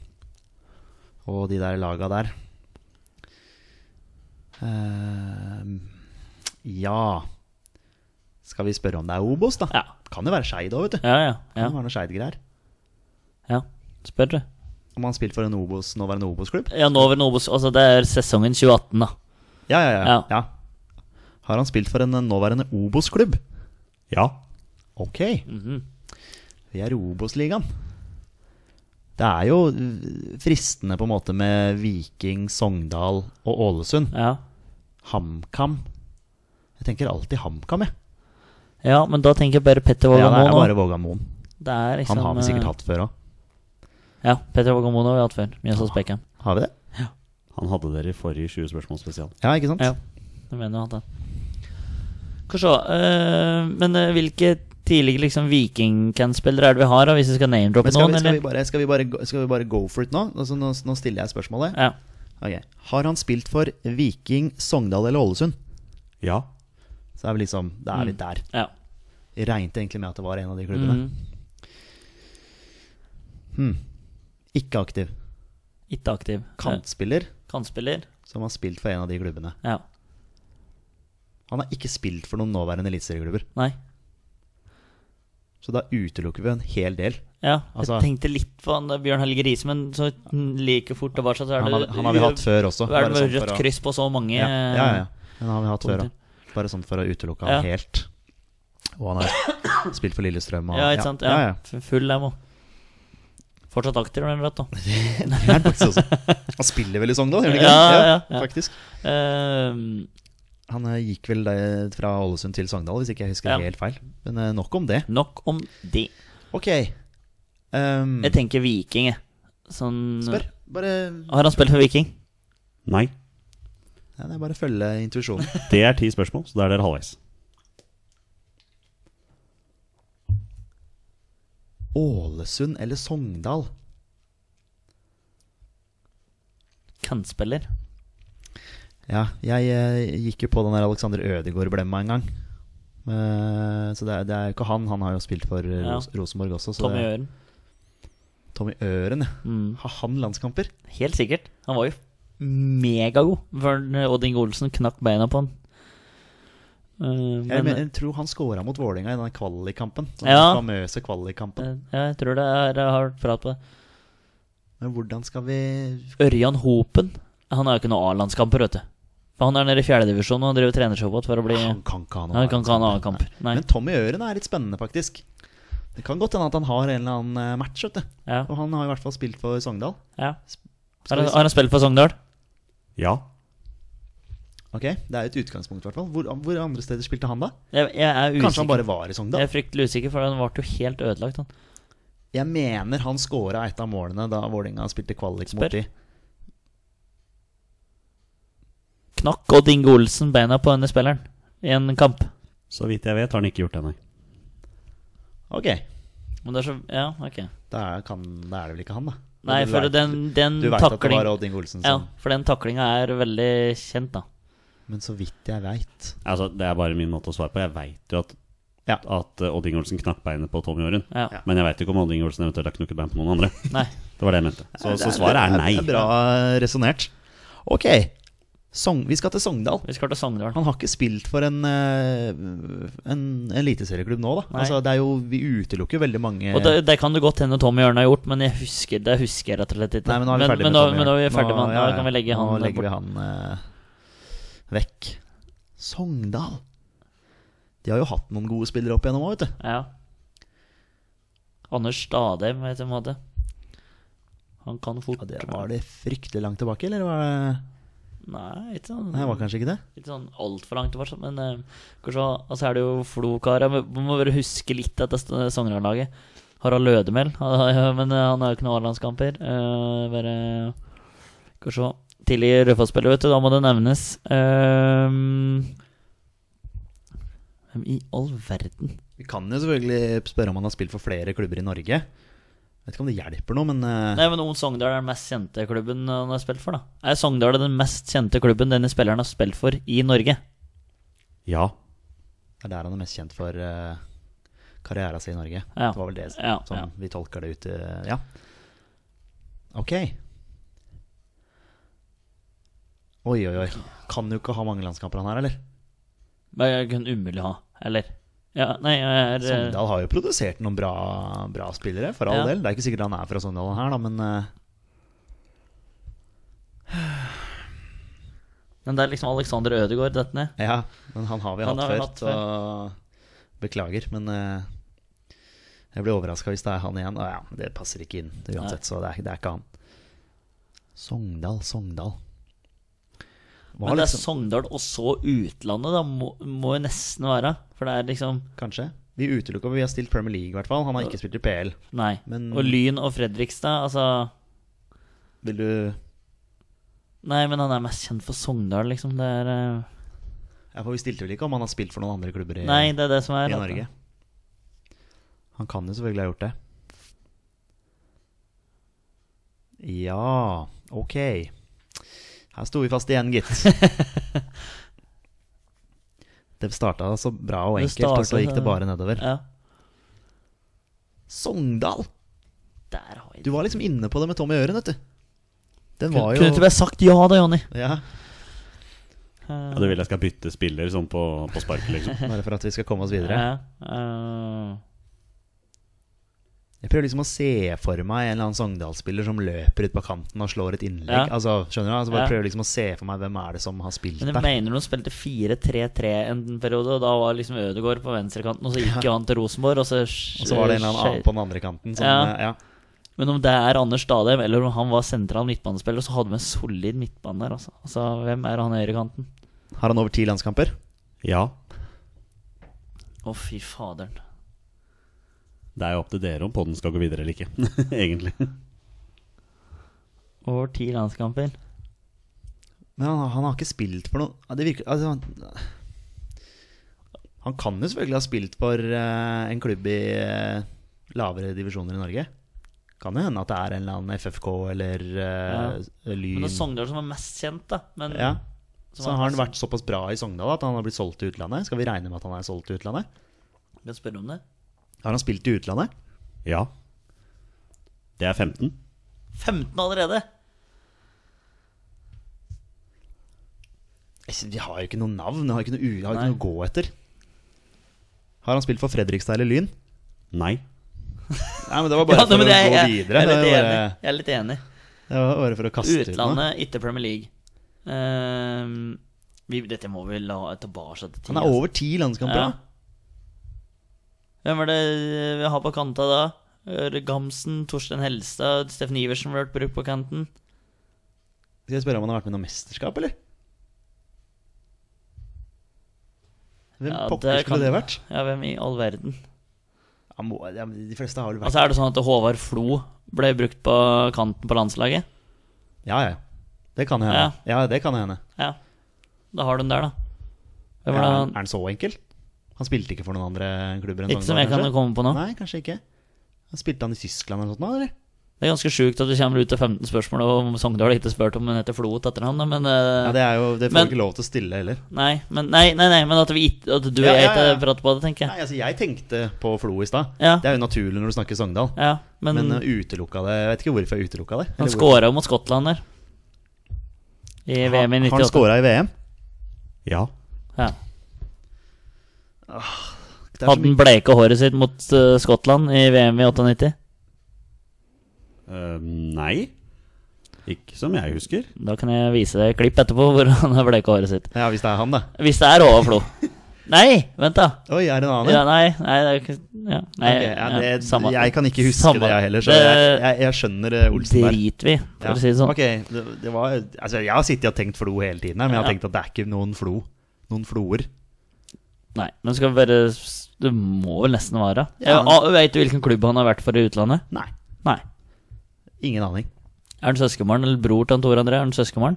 Speaker 2: og de der laga der. Eh, ja Skal vi spørre om det er Obos, da?
Speaker 3: Ja.
Speaker 2: Kan jo være Skeid òg, vet du.
Speaker 3: Eh, Ja, ja.
Speaker 2: Kan jo
Speaker 3: ja,
Speaker 2: være noe Skeid-greier.
Speaker 3: ja. Spør du.
Speaker 2: Om han spilte for en Obos, nåværende Obos-klubb?
Speaker 3: Ja, nå over Nobos. Altså, det er sesongen 2018, da.
Speaker 2: Ja, ja, ja,
Speaker 3: Ja.
Speaker 2: ja. Har han spilt for en eh, nåværende Obos-klubb?
Speaker 1: Ja.
Speaker 2: Ok. Mhm. Vi er i Obos-ligaen. Det er jo eh, fristende på en måte med Viking, Sogndal og Ålesund.
Speaker 3: Ja.
Speaker 2: HamKam. Jeg tenker alltid HamKam, jeg.
Speaker 3: ja, men da tenker jeg bare Petter
Speaker 2: Ja, det
Speaker 3: Vågamoen.
Speaker 2: er
Speaker 3: nå.
Speaker 2: bare Vågamoen.
Speaker 3: Det er liksom,
Speaker 2: Han har vi sikkert
Speaker 3: eh,
Speaker 2: hatt før òg.
Speaker 3: Ja, Petter Vågamoen har vi hatt før. Mjøsås Beckham.
Speaker 2: Har vi det?
Speaker 1: Han hadde dere i forrige 20 spørsmål spesial.
Speaker 2: Ja, ikke sant?
Speaker 3: Ja, det mener jeg at han Skal vi se. eh, men eh, hvilke tidligere liksom, Viking-spillere er det vi har, da, hvis vi skal name-droppe
Speaker 2: Men skal,
Speaker 3: noen?
Speaker 2: vi, skal, vi
Speaker 3: eller?
Speaker 2: bare, skal, vi bare, gå- skal vi bare go for it nå? Altså, nå, nå stiller jeg spørsmålet.
Speaker 3: Ja.
Speaker 2: Ok. Har han spilt for Viking, Sogndal eller Ålesund?
Speaker 1: Ja.
Speaker 2: Så er vi liksom, Da
Speaker 3: Mm.
Speaker 2: er vi der.
Speaker 3: ja.
Speaker 2: Jeg regnet egentlig med at det var en av de klubbene. Hmm.
Speaker 3: Mm,
Speaker 2: Ikke aktiv.
Speaker 3: ikke aktiv.
Speaker 2: Kantspiller
Speaker 3: Eh, Kantspiller.
Speaker 2: som har spilt for en av de klubbene.
Speaker 3: Ja.
Speaker 2: Han har ikke spilt for noen nåværende eliteserieklubber.
Speaker 3: Nei.
Speaker 2: Så da utelukker vi en hel del.
Speaker 3: Ja,
Speaker 2: Altså-
Speaker 3: jeg tenkte litt på han der Bjørn Helge Riise, men så like fort tilbake så er det
Speaker 2: Han har, han har vi hatt før også.
Speaker 3: Er det
Speaker 2: bare
Speaker 3: med
Speaker 2: sånn for
Speaker 3: rødt
Speaker 2: å-
Speaker 3: kryss på så mange eh,
Speaker 2: Ja, ja, ja, ja. Den har vi hatt før,
Speaker 3: punkter.
Speaker 2: da. Bare sånn for å utelukke han
Speaker 3: Ja.
Speaker 2: helt. Og han har spilt for Lillestrøm. Og,
Speaker 3: Ja, ikke sant? Ja,
Speaker 2: Ja, ja,
Speaker 3: F- Full dem òg. Fortsatt aktiv, men rødt, da.
Speaker 2: Det er han faktisk også. Han spiller vel i Sogndal, gjør han ikke?
Speaker 3: Ja,
Speaker 2: det?
Speaker 3: ja, ja.
Speaker 2: Faktisk.
Speaker 3: Ehm,
Speaker 2: Han eh, gikk vel eh, fra Ålesund til Sogndal, hvis ikke jeg husker
Speaker 3: Ja.
Speaker 2: helt feil. Men eh, nok om det.
Speaker 3: nok om det.
Speaker 2: Ok. Um,
Speaker 3: Jeg tenker Viking, jeg. Sånn
Speaker 2: spør. Bare,
Speaker 3: Har han spilt for Viking?
Speaker 1: Nei.
Speaker 2: ja, det er bare å følge intuisjonen.
Speaker 1: Det er ti spørsmål, så da er dere halvveis.
Speaker 2: Ålesund eller Sogndal?
Speaker 3: Kantspiller?
Speaker 2: Ja, jeg eh, gikk jo på den der Alexander Ødegaard-blemma en gang. Eh, så det er, det er jo ikke han. Han har jo spilt for eh,
Speaker 3: Ja.
Speaker 2: Ros Rosenborg også. Så
Speaker 3: Tommy
Speaker 2: det,
Speaker 3: Øren? Mm.
Speaker 2: Tommy Øren, ja. Har han landskamper?
Speaker 3: Helt sikkert. Han var jo megagod før Odd Inge Olsen knakk beina på han. Ehm,
Speaker 2: Jeg, men,
Speaker 3: men
Speaker 2: jeg tror han scora mot Vålerenga i den kvalikkampen. Den
Speaker 3: Ja.
Speaker 2: famøse kvalikkampen.
Speaker 3: eh, ja, jeg tror det er Jeg har vært prat på det.
Speaker 2: Men hvordan skal vi
Speaker 3: Ørjan Hopen Han har jo ikke noen A-landskamper, vet du. For han er nede i fjerdedivisjon og han driver trenershow for å bli
Speaker 2: Han kan ikke ha noen
Speaker 3: Han kan ikke ha noen
Speaker 2: landskamper.
Speaker 3: A-kamper. Nei.
Speaker 2: Men Tommy Øren er litt spennende, faktisk. Det kan godt hende at han har en eller annen eh, match, vet du.
Speaker 3: Ja.
Speaker 2: Og han har i hvert fall spilt for Sogndal.
Speaker 3: ja. Har
Speaker 2: Skal
Speaker 3: han,
Speaker 2: vi se.
Speaker 3: har han spilt for Sogndal?
Speaker 1: Ja.
Speaker 2: Ok, Det er jo et utgangspunkt, i hvert fall. Hvor, hvor andre steder spilte han da?
Speaker 3: Jeg, jeg er usikker.
Speaker 2: Kanskje han bare var i Sogndal?
Speaker 3: Jeg er fryktelig usikker, for han ble jo helt ødelagt, han.
Speaker 2: Jeg mener han scora et av målene da Vålerenga spilte kvalik
Speaker 3: Spør.
Speaker 2: mot de.
Speaker 3: Knakk Odd Inge Olsen beina på denne spilleren i en kamp.
Speaker 1: Så vidt jeg vet, har han ikke gjort det, nei.
Speaker 2: Ok,
Speaker 3: Men det er så Ja, ok.
Speaker 2: da er, kan, da er det vel ikke han, da.
Speaker 3: Nei,
Speaker 2: Du
Speaker 3: for
Speaker 2: vet-
Speaker 3: den, den
Speaker 2: Du veit at det var
Speaker 3: takling
Speaker 2: Odd Inge Olsen
Speaker 3: Ja,
Speaker 2: som
Speaker 3: for den taklinga er veldig kjent, da.
Speaker 2: Men så vidt jeg veit
Speaker 1: Altså, Det er bare min måte å svare på. Jeg veit jo at,
Speaker 2: Ja.
Speaker 1: at eh, Odd Ingolsen knakk beinet på Tommy Åren.
Speaker 3: Ja.
Speaker 2: Ja.
Speaker 1: Men jeg veit ikke om Odd Ingolsen eventuelt har knukket bein på noen andre.
Speaker 3: Nei.
Speaker 1: Det var det jeg mente. Så, så svaret er nei.
Speaker 2: Det er bra resonnert. Ok, Sogn, vi skal til Sogndal.
Speaker 3: Vi skal til Sogndal.
Speaker 2: Han har ikke spilt for en, eh, en eliteserieklubb nå, da.
Speaker 3: Nei.
Speaker 2: Altså, det er jo, vi utelukker jo veldig mange
Speaker 3: Og det, det kan det godt hende Tommy Jørn har gjort, men jeg husker det husker jeg rett og slett ikke.
Speaker 2: Nei, men nå er vi ferdig
Speaker 3: men,
Speaker 2: med
Speaker 3: nå,
Speaker 2: Tommy
Speaker 3: men nå er vi
Speaker 2: Jørn.
Speaker 3: ferdig med
Speaker 2: Nå-
Speaker 3: han.
Speaker 2: ja,
Speaker 3: Nå
Speaker 2: ja.
Speaker 3: kan vi legge han
Speaker 2: Nå legger vi
Speaker 3: bort.
Speaker 2: han eh, vekk. Sogndal. De har jo hatt noen gode spillere opp igjennom òg, vet du.
Speaker 3: Ja. Anders Stadheim, vet du hva det Han kan fort
Speaker 2: Ja, det var det fryktelig langt tilbake, eller var det
Speaker 3: Nei, ikke sånn
Speaker 2: Nei, det var kanskje ikke det?
Speaker 3: Litt sånn altfor langt fortsatt, men eh, kanskje altså er det jo Flo-karer. men Man må bare huske litt at det er Sogndal-laget. Harald Lødemel, han- ja, men eh, han har jo ikke noen A-landskamper. Eh, bare Skal vi se. Tidlig Rødfoss-spiller, vet du. Da må det nevnes. Eh, Hvem i all verden?
Speaker 2: Vi kan jo selvfølgelig spørre om han har spilt for flere klubber i Norge. Vet ikke om det hjelper noe, men eh,
Speaker 3: Nei, men Ung Sogndal er den mest kjente klubben eh, han har spilt for, da. Er Sogndal den mest kjente klubben denne spilleren har spilt for i Norge?
Speaker 1: Ja.
Speaker 2: det er der han er mest kjent for uh, karriera si i Norge.
Speaker 3: Ja.
Speaker 2: Det var vel det
Speaker 3: Ja,
Speaker 2: sånn
Speaker 3: ja.
Speaker 2: vi tolker det ut eh, Ja. Ok. Oi, oi, oi. Kan jo ikke ha mange landskamper han her, eller?
Speaker 3: Men jeg kunne umulig ha, eller? Ja, nei, jeg er eh,
Speaker 2: Sogndal har jo produsert noen bra, bra spillere, for all
Speaker 3: Ja.
Speaker 2: del. Det er ikke sikkert han er fra Sogndal han her, da, men eh,
Speaker 3: Men det er liksom Alexander Ødegaard dette ned.
Speaker 2: Ja, men han har vi
Speaker 3: Han
Speaker 2: hatt
Speaker 3: har vi
Speaker 2: før,
Speaker 3: hatt
Speaker 2: så beklager. Men eh, jeg blir overraska hvis det er han igjen. Å ja, det passer ikke inn det er uansett, så det er, det er ikke han. Sogndal, Sogndal. Var
Speaker 3: Men det er
Speaker 2: liksom,
Speaker 3: Sogndal og så utlandet, da. Må, må jo nesten være. For det er liksom
Speaker 2: kanskje. Vi utelukker vi har stilt Premier League, i hvert fall. Han har ikke spilt i PL.
Speaker 3: Nei.
Speaker 2: Men-
Speaker 3: Og Lyn og Fredrikstad, altså
Speaker 2: Vil du
Speaker 3: Nei, men han er mest kjent for Sogndal, liksom. Det er eh,
Speaker 2: ja, for Vi stilte vel ikke om han har spilt for noen andre klubber i,
Speaker 3: Nei, det er det som er
Speaker 2: i
Speaker 3: at-
Speaker 2: Norge? Han kan jo selvfølgelig ha gjort det. Ja, ok. Her sto vi fast igjen, gitt. Det starta så bra og
Speaker 3: Det
Speaker 2: enkelt, og så
Speaker 3: startet,
Speaker 2: gikk det bare nedover.
Speaker 3: Ja.
Speaker 2: Sogndal!
Speaker 3: Der har vi
Speaker 2: Du
Speaker 3: det.
Speaker 2: var liksom inne på det med Tommy Øren, vet du. Den
Speaker 3: Kunne
Speaker 2: var
Speaker 3: kunne du ikke
Speaker 2: jo
Speaker 3: bare sagt ja da, Jonny?
Speaker 2: ja,
Speaker 1: ja. Du vil jeg skal bytte spiller sånn på, på sparket, liksom?
Speaker 2: Bare for at vi skal komme oss
Speaker 3: Ja,
Speaker 2: videre.
Speaker 3: eh,
Speaker 2: Jeg prøver liksom å se for meg en eller annen Sogndal-spiller som løper ut på kanten og slår et innlegg.
Speaker 3: Ja.
Speaker 2: Altså, skjønner du? Altså, bare
Speaker 3: Ja.
Speaker 2: prøver liksom å se for meg hvem er det som har spilt
Speaker 3: men jeg
Speaker 2: der.
Speaker 3: mener de spilte 4-3-3 en periode, og da var liksom Ødegaard på venstrekanten, og så gikk jo han til Rosenborg, og så
Speaker 2: Og så var det en eller annen annen på den andre kanten. Som,
Speaker 3: Ja.
Speaker 2: eh, ja.
Speaker 3: Men om det er Anders Stadheim, eller om han var sentral midtbanespiller, så hadde vi en solid midtbane der, altså. Altså, hvem er han i høyrekanten?
Speaker 2: Har han over ti landskamper?
Speaker 1: Ja.
Speaker 3: Å, fy faderen.
Speaker 1: Det er jo opp til dere om podden skal gå videre eller ikke, egentlig.
Speaker 3: Over ti landskamper.
Speaker 2: Men han, han har ikke spilt for noe ja, Det virker altså, han, han kan jo selvfølgelig ha spilt for eh, en klubb i eh, lavere divisjoner i Norge. Kan jo hende at det er en eller annen FFK eller eh,
Speaker 3: Men
Speaker 2: Lyn.
Speaker 3: det er Sogndal som er mest kjent, da. Men,
Speaker 2: Ja.
Speaker 3: som
Speaker 2: Så
Speaker 3: er
Speaker 2: har han
Speaker 3: mest-
Speaker 2: vært såpass bra i Sogndal at han har blitt solgt til utlandet? Skal vi regne med at han er solgt til utlandet?
Speaker 3: Kan jeg spørre om det?
Speaker 2: Har han spilt i utlandet?
Speaker 1: Ja. Det er 15.
Speaker 3: 15 allerede!
Speaker 2: Jeg synes, Vi har jo ikke noe navn, vi har ikke noe, u, vi har ikke
Speaker 3: Nei.
Speaker 2: noe å gå etter. Har han spilt for Fredrikstad eller Lyn?
Speaker 1: Nei.
Speaker 2: Nei, men Det var bare
Speaker 3: Ja,
Speaker 2: for
Speaker 3: men
Speaker 2: å
Speaker 3: jeg,
Speaker 2: gå
Speaker 3: jeg, jeg,
Speaker 2: videre.
Speaker 3: er
Speaker 2: det, var
Speaker 3: litt enig.
Speaker 2: bare,
Speaker 3: jeg er litt enig.
Speaker 2: det var bare for å kaste ut noe.
Speaker 3: Utlandet, ikke Premier League. Ehm, vi, dette må vi la tilbake til tid.
Speaker 2: Han er over ti landskamper.
Speaker 3: Ja.
Speaker 2: da.
Speaker 3: Hvem var det vi har på kanta da? Øre Gamsen, Torstein Helstad, Steffen Iversen ble brukt på kanten.
Speaker 2: Skal jeg spørre om han har vært med i noe mesterskap, eller? Hvem
Speaker 3: Ja,
Speaker 2: pokker
Speaker 3: det kan-
Speaker 2: skulle det vært?
Speaker 3: Ja, hvem i all verden?
Speaker 2: Han må, ja, men de fleste har vel vært
Speaker 3: Altså, er det sånn at Håvard Flo ble brukt på kanten på landslaget?
Speaker 2: Ja, ja. Det kan jo hende. Ja, det kan jo hende.
Speaker 3: Ja. Da har du den der, da.
Speaker 2: Ja,
Speaker 3: Hvem var det
Speaker 2: er
Speaker 3: han?
Speaker 2: den så enkel? Han spilte ikke for noen andre klubber enn
Speaker 3: Ikke som jeg kan
Speaker 2: kanskje?
Speaker 3: komme på nå.
Speaker 2: Nei, kanskje ikke. Han spilte han i Tyskland eller noe sånt, nå, eller?
Speaker 3: Det er ganske sjukt at du kommer ut til 15 spørsmål om Sogndal ikke spurt om hun heter Flo til etternavn, da, men eh,
Speaker 2: Ja, det er jo Det får
Speaker 3: Men-
Speaker 2: du ikke lov til å stille heller.
Speaker 3: nei, men, nei, nei, nei, men at, vi, ikke- at du og
Speaker 2: Ja,
Speaker 3: jeg
Speaker 2: ja,
Speaker 3: ikke
Speaker 2: ja, ja.
Speaker 3: prater på det, tenker jeg.
Speaker 2: Nei, altså, jeg tenkte på Flo i stad.
Speaker 3: Ja.
Speaker 2: Det er jo naturlig når du snakker Sogndal.
Speaker 3: Ja, men,
Speaker 2: Men, eh, jeg utelukka det Jeg vet ikke hvorfor jeg utelukka det.
Speaker 3: han
Speaker 2: eller hvor-
Speaker 3: scora jo mot Skottland der. I VM i
Speaker 2: Har- Har han
Speaker 3: 98.
Speaker 2: scora i VM?
Speaker 1: Ja.
Speaker 3: Ja.
Speaker 2: Det er så
Speaker 3: Hadde
Speaker 2: mye-
Speaker 3: han bleika håret sitt mot eh, Skottland i VM i 98?
Speaker 1: Eh, nei. Ikke som jeg husker.
Speaker 3: Da kan jeg vise deg et klipp etterpå hvor han har bleika håret sitt.
Speaker 2: Ja, hvis det er han, da.
Speaker 3: Hvis det er Håvard Flo. Nei, vent, da.
Speaker 2: Oi, er det en annen?
Speaker 3: Ja, nei, nei, det er jo ikke ja, nei,
Speaker 2: Ok, ja, det,
Speaker 3: ja, samme.
Speaker 2: Jeg kan ikke huske
Speaker 3: Samme.
Speaker 2: det, jeg heller. Så jeg, jeg, jeg skjønner eh, Olsen der.
Speaker 3: driter vi, for
Speaker 2: Ja.
Speaker 3: å si det sånn.
Speaker 2: Ok, det, det var, altså, jeg har sittet og tenkt flo hele tiden, her, men jeg har
Speaker 3: Ja.
Speaker 2: tenkt at det er ikke noen flo. Noen floer.
Speaker 3: Nei, men skal vi bare s- Det må vel nesten være.
Speaker 2: Ja.
Speaker 3: Ja, Veit du hvilken klubb han har vært for i utlandet?
Speaker 2: Nei.
Speaker 3: Nei.
Speaker 2: Ingen aning.
Speaker 3: Er han søskenbarn eller bror til han Tor André? Er han søskenbarn?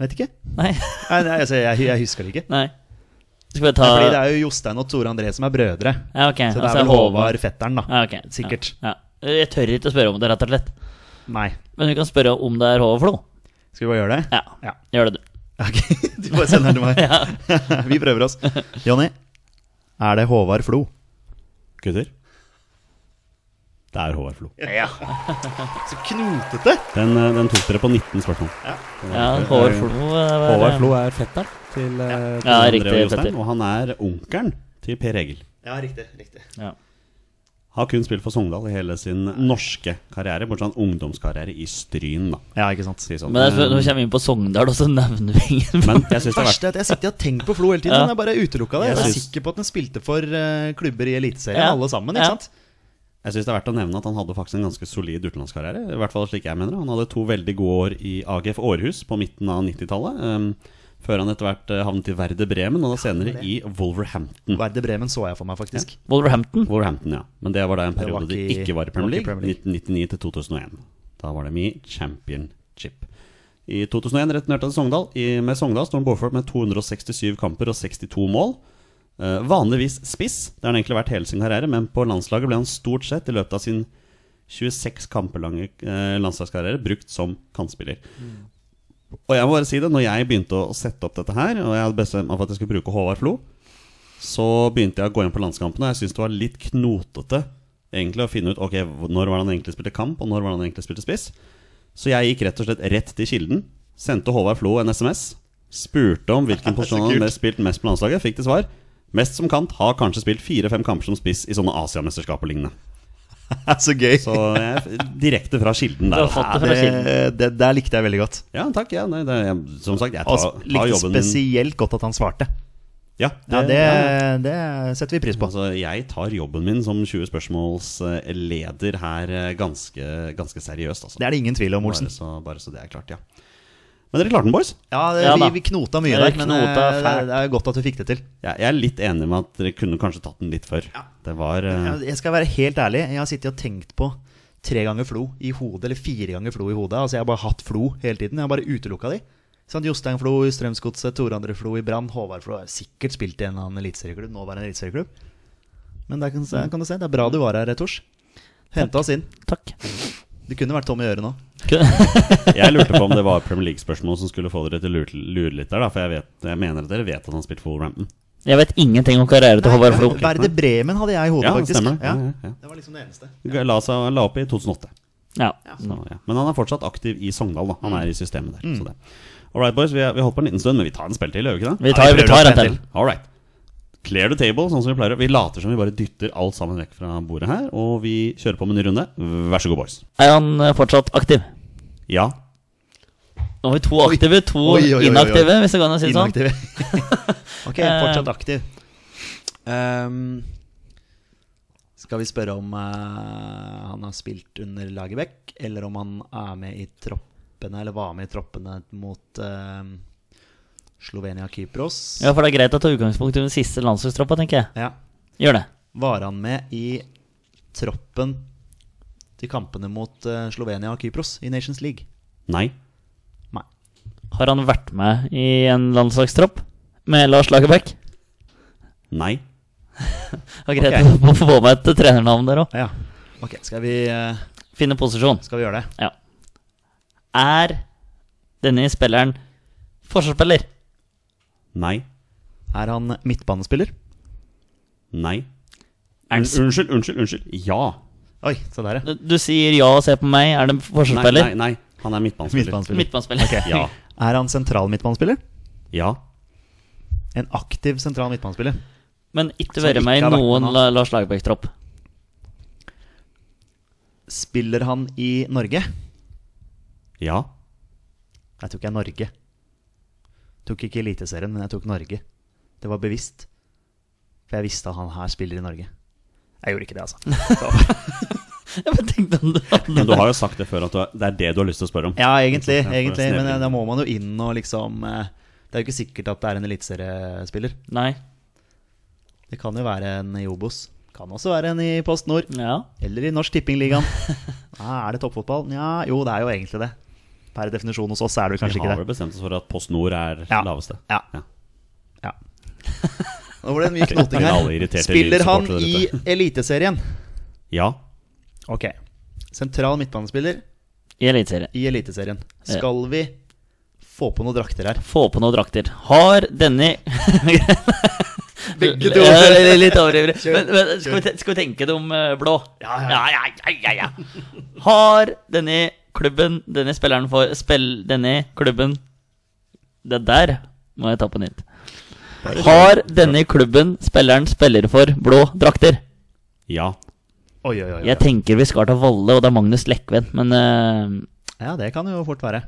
Speaker 2: Vet ikke.
Speaker 3: Nei.
Speaker 2: Nei, nei, altså, jeg, jeg husker det ikke.
Speaker 3: Nei. Skal vi ta
Speaker 2: Nei, fordi det er jo Jostein og Tore André som er brødre.
Speaker 3: Ja, ok.
Speaker 2: Så det
Speaker 3: altså
Speaker 2: er vel Håvard fetteren, da.
Speaker 3: Ja, ok.
Speaker 2: Sikkert.
Speaker 3: Ja. ja. Jeg tør ikke å spørre om det, rett og slett.
Speaker 2: Nei.
Speaker 3: Men vi kan spørre om det er Håvard Flo.
Speaker 2: Skal vi bare gjøre det?
Speaker 3: Ja.
Speaker 2: Ja.
Speaker 3: Gjør det, du.
Speaker 2: Ok, du bare sender den til meg.
Speaker 3: Ja.
Speaker 2: Vi prøver oss. Jonny, er det Håvard Flo?
Speaker 1: Gutter? Det er Håvard Flo.
Speaker 2: Ja. Så knotete!
Speaker 1: Den, eh, den tok dere på 19 spørsmål.
Speaker 3: ja Håvard Flo. eh, var-
Speaker 1: Håvard Flo er fetteren til, eh, til
Speaker 3: Ja,
Speaker 1: André
Speaker 3: riktig,
Speaker 1: og Jostein,
Speaker 3: fetter.
Speaker 1: og han er onkelen til Per Egil.
Speaker 2: Ja, riktig. riktig
Speaker 3: Ja.
Speaker 1: Har kun spilt for Sogndal i hele sin norske karriere, bortsett fra en ungdomskarriere i Stryn. da
Speaker 2: Ja, ikke sant.
Speaker 1: Si sånn.
Speaker 3: Men jeg, når vi
Speaker 1: Eh,
Speaker 3: kommer inn på Sogndal, og så nevner vi ingen
Speaker 1: Men jeg syns det er verdt
Speaker 2: Verste er at jeg sitter og tenker på Flo hele tiden.
Speaker 3: Ja.
Speaker 2: men Jeg bare utelukka det.
Speaker 1: Jeg
Speaker 2: Jeg er
Speaker 1: syns-
Speaker 2: sikker på at den spilte for eh, klubber i Eliteserien,
Speaker 3: Ja.
Speaker 2: alle sammen. ikke
Speaker 3: Ja.
Speaker 2: sant?
Speaker 1: Jeg synes det er verdt å nevne at han hadde faktisk en ganske solid utenlandskarriere. I hvert fall slik jeg mener det. Han hadde to veldig gode år i AGF Århus på midten av 90-tallet. Um, før han etter hvert eh, havnet i Werder Bremen, og da senere i Wolverhampton.
Speaker 2: Werder Bremen så jeg for meg, faktisk.
Speaker 3: Wolverhampton.
Speaker 1: Wolverhampton, ja. Men det var da en
Speaker 2: Det var
Speaker 1: periode de
Speaker 2: ikke-
Speaker 1: ikke var i Premier
Speaker 2: det var
Speaker 1: League.
Speaker 2: ikke Premier
Speaker 1: 1999 til 2001. Da var de i championship. I 2001 returnerte han til Sogndal. I, med Sogndal står han bokført med 267 kamper og 62 mål. Eh, vanligvis spiss, det har han egentlig vært hele sin karriere, men på landslaget ble han stort sett i løpet av sin 26 kamper lange eh, landslagskarriere brukt som kantspiller.
Speaker 2: Mm.
Speaker 1: Og jeg må bare si det, når jeg begynte å sette opp dette her, og jeg hadde bestemt meg for at jeg skulle bruke Håvard Flo, så begynte jeg å gå inn på landskampene, og jeg syntes det var litt knotete egentlig å finne ut ok, når var det han egentlig spilte kamp, og når var det han egentlig spilte spiss. Så jeg gikk rett og slett rett til kilden, sendte Håvard Flo en SMS, spurte om hvilken posisjon han hadde mest spilt mest på landslaget, fikk til svar. Mest som kant, har kanskje spilt fire-fem kamper som spiss i sånne Asiamesterskap og lignende.
Speaker 2: så gøy.
Speaker 1: Så jeg, direkte fra kilden der.
Speaker 3: Du har fått
Speaker 1: altså.
Speaker 2: Ja, det, det, der likte jeg veldig godt.
Speaker 1: Ja, takk. Ja, nei, det, jeg, som sagt, jeg tar,
Speaker 2: Og s-
Speaker 1: tar
Speaker 2: likte
Speaker 1: jobben min.
Speaker 2: spesielt godt at han svarte.
Speaker 1: Ja,
Speaker 2: Ja,
Speaker 1: det-
Speaker 2: Det,
Speaker 1: ja.
Speaker 2: det setter vi pris på.
Speaker 1: Altså, jeg tar jobben min som 20 spørsmålsleder her eh, ganske, ganske seriøst, altså.
Speaker 2: Det er det ingen tvil om, Olsen.
Speaker 1: bare, så, bare så det er klart, ja. Men dere klarte den, boys.
Speaker 2: Ja, det,
Speaker 3: Ja,
Speaker 2: vi,
Speaker 3: da.
Speaker 2: vi knota mye
Speaker 3: Ja,
Speaker 2: der,
Speaker 3: vi
Speaker 2: men
Speaker 3: knota
Speaker 2: eh, det,
Speaker 3: fælt.
Speaker 2: det er godt at du fikk det til.
Speaker 1: Jeg, jeg er litt enig med at dere kunne kanskje tatt den litt før. Det var eh,
Speaker 2: Jeg- Jeg skal være helt ærlig. Jeg har sittet og tenkt på tre ganger flo i hodet, eller fire ganger flo i hodet. Altså, jeg har bare hatt flo hele tiden. Jeg har bare utelukka de. Sånn, Jostein Flo i Strømsgodset, Tore André Flo i Brann, Håvard Flo har sikkert spilt i en eller annen eliteserieklubb. Nå var det en eliteserieklubb. Men der kan, kan du se, det er bra du var her, Tors. Henta oss inn.
Speaker 3: Takk.
Speaker 2: Du kunne vært tom i øret nå.
Speaker 1: Jeg lurte på om det var Premier League-spørsmål som skulle få dere til å lure, lure litt der, da. For jeg, vet, jeg mener at dere vet at han spilte for Wolverhampton.
Speaker 3: Jeg vet ingenting om karriere til Håvard Flo.
Speaker 2: Verde Bremen hadde jeg i hodet,
Speaker 1: Ja, det
Speaker 2: faktisk.
Speaker 1: stemmer. det.
Speaker 2: Ja.
Speaker 1: Ja, ja,
Speaker 2: Det var liksom det eneste.
Speaker 1: ja. La, seg, la opp i 2008.
Speaker 3: Ja.
Speaker 1: Så, ja. Men han er fortsatt aktiv i Sogndal, da. Han er i systemet der.
Speaker 2: Mm.
Speaker 1: Så det. All right, boys. Vi har vi har holdt på en liten stund, men vi tar en spill til, gjør vi ikke det?
Speaker 3: Vi tar,
Speaker 2: vi
Speaker 3: vi
Speaker 2: prøver
Speaker 3: tar
Speaker 2: oss
Speaker 3: en til.
Speaker 2: en
Speaker 1: All right. Clear the table, sånn som vi pleier. å- Vi later som vi bare dytter alt sammen vekk fra bordet her, og vi kjører på med en ny runde. Vær så god, boys.
Speaker 3: Er han eh, fortsatt aktiv?
Speaker 1: Ja.
Speaker 3: Nå har vi to aktive, to
Speaker 2: Oi, oi, oi, oi.
Speaker 3: inaktive, hvis det går an å si det sånn.
Speaker 2: Inaktiv. ok, fortsatt aktiv. Eh, Ehm, skal vi spørre om eh, han har spilt under Lagerbäck, eller om han er med i troppene, eller var med i troppene mot ehm, Slovenia-Kypros?
Speaker 3: Ja, for det er greit å ta utgangspunkt i den siste landslagstroppa, tenker jeg.
Speaker 2: Ja.
Speaker 3: Gjør det.
Speaker 2: Var han med i troppen til kampene mot eh, Slovenia og Kypros i Nations League?
Speaker 1: Nei.
Speaker 2: Nei.
Speaker 3: Har han vært med i en landslagstropp med Lars Lagerbäck?
Speaker 1: Nei.
Speaker 3: Det var greit
Speaker 2: Ok.
Speaker 3: å få med et trenernavn der òg.
Speaker 2: Ja. Ok, skal vi, eh,
Speaker 3: Finne posisjon.
Speaker 2: skal vi gjøre det?
Speaker 3: Ja. Er denne spilleren forsvarsspiller?
Speaker 1: Nei.
Speaker 2: Er han midtbanespiller?
Speaker 1: Nei.
Speaker 3: Er
Speaker 1: Un
Speaker 3: det s-
Speaker 1: unnskyld, unnskyld, unnskyld. Ja.
Speaker 2: Oi, se der, ja.
Speaker 3: Du du sier ja og ser på meg. Er det en
Speaker 1: Nei, nei,
Speaker 3: forsvarsspiller?
Speaker 1: nei. Han er midtbanespiller.
Speaker 2: Midtbanespiller.
Speaker 3: Midtbanespiller.
Speaker 1: Ja.
Speaker 2: Er han sentral midtbanespiller?
Speaker 1: Ja.
Speaker 2: En aktiv sentral midtbanespiller.
Speaker 3: Men ikke
Speaker 2: Som
Speaker 3: være med
Speaker 2: ikke
Speaker 3: i
Speaker 2: har vært
Speaker 3: noen
Speaker 2: med nå.
Speaker 3: La- Lars Lagerbäck-tropp.
Speaker 2: Spiller han i Norge?
Speaker 1: Ja.
Speaker 2: Jeg tok jeg Norge. Tok ikke Eliteserien, men jeg tok Norge. Det var bevisst. For jeg visste at han her spiller i Norge. Jeg gjorde ikke det, altså.
Speaker 3: Jeg bare tenkte om det
Speaker 1: Men du har jo sagt det før at du har, det er det du har lyst til å spørre om.
Speaker 2: Ja, egentlig.
Speaker 1: Ja, for å
Speaker 2: egentlig men eh,
Speaker 1: snevre inn.
Speaker 2: da må man jo inn og liksom eh, Det er jo ikke sikkert at det er en eliteseriespiller.
Speaker 3: Nei.
Speaker 2: Det kan jo være en i Obos. Kan også være en i Post Nord.
Speaker 3: Ja.
Speaker 2: Eller i Norsk Tippingligaen. Ja, er det toppfotball? Nja, jo, det er jo egentlig det. Per definisjon hos oss er det jo kanskje
Speaker 1: Vi har
Speaker 2: ikke
Speaker 1: vel
Speaker 2: det.
Speaker 1: bestemt oss for at Post Nord er
Speaker 2: Ja.
Speaker 1: laveste.
Speaker 2: Ja.
Speaker 1: Ja.
Speaker 2: ja. Nå ble det mye knoting
Speaker 1: Blir alle
Speaker 2: her.
Speaker 1: irriterte
Speaker 2: Spiller han
Speaker 1: Lyn-supportere
Speaker 2: i Eliteserien?
Speaker 1: Ja.
Speaker 2: Ok. Sentral midtbanespiller
Speaker 3: I Eliteserien.
Speaker 2: i Eliteserien. Skal vi få på noen drakter her?
Speaker 3: Få på noen drakter. Har denne
Speaker 2: Begge
Speaker 3: Ja,
Speaker 2: to.
Speaker 3: det er Litt overivrig.
Speaker 2: Kjør,
Speaker 3: Men, men skal, vi te- skal vi tenke det om eh, blå?
Speaker 2: Ja, ja,
Speaker 3: ja, ja, ja, ja, ja. Har denne klubben, denne spilleren for spill, Denne klubben Det der må jeg ta på nytt. Har denne klubben spilleren spiller for blå drakter?
Speaker 1: Ja.
Speaker 2: Oi, oi, oi.
Speaker 3: Jeg tenker vi skal til Valle, og det er Magnus Lekven, men uh,
Speaker 2: Ja, det kan jo fort være.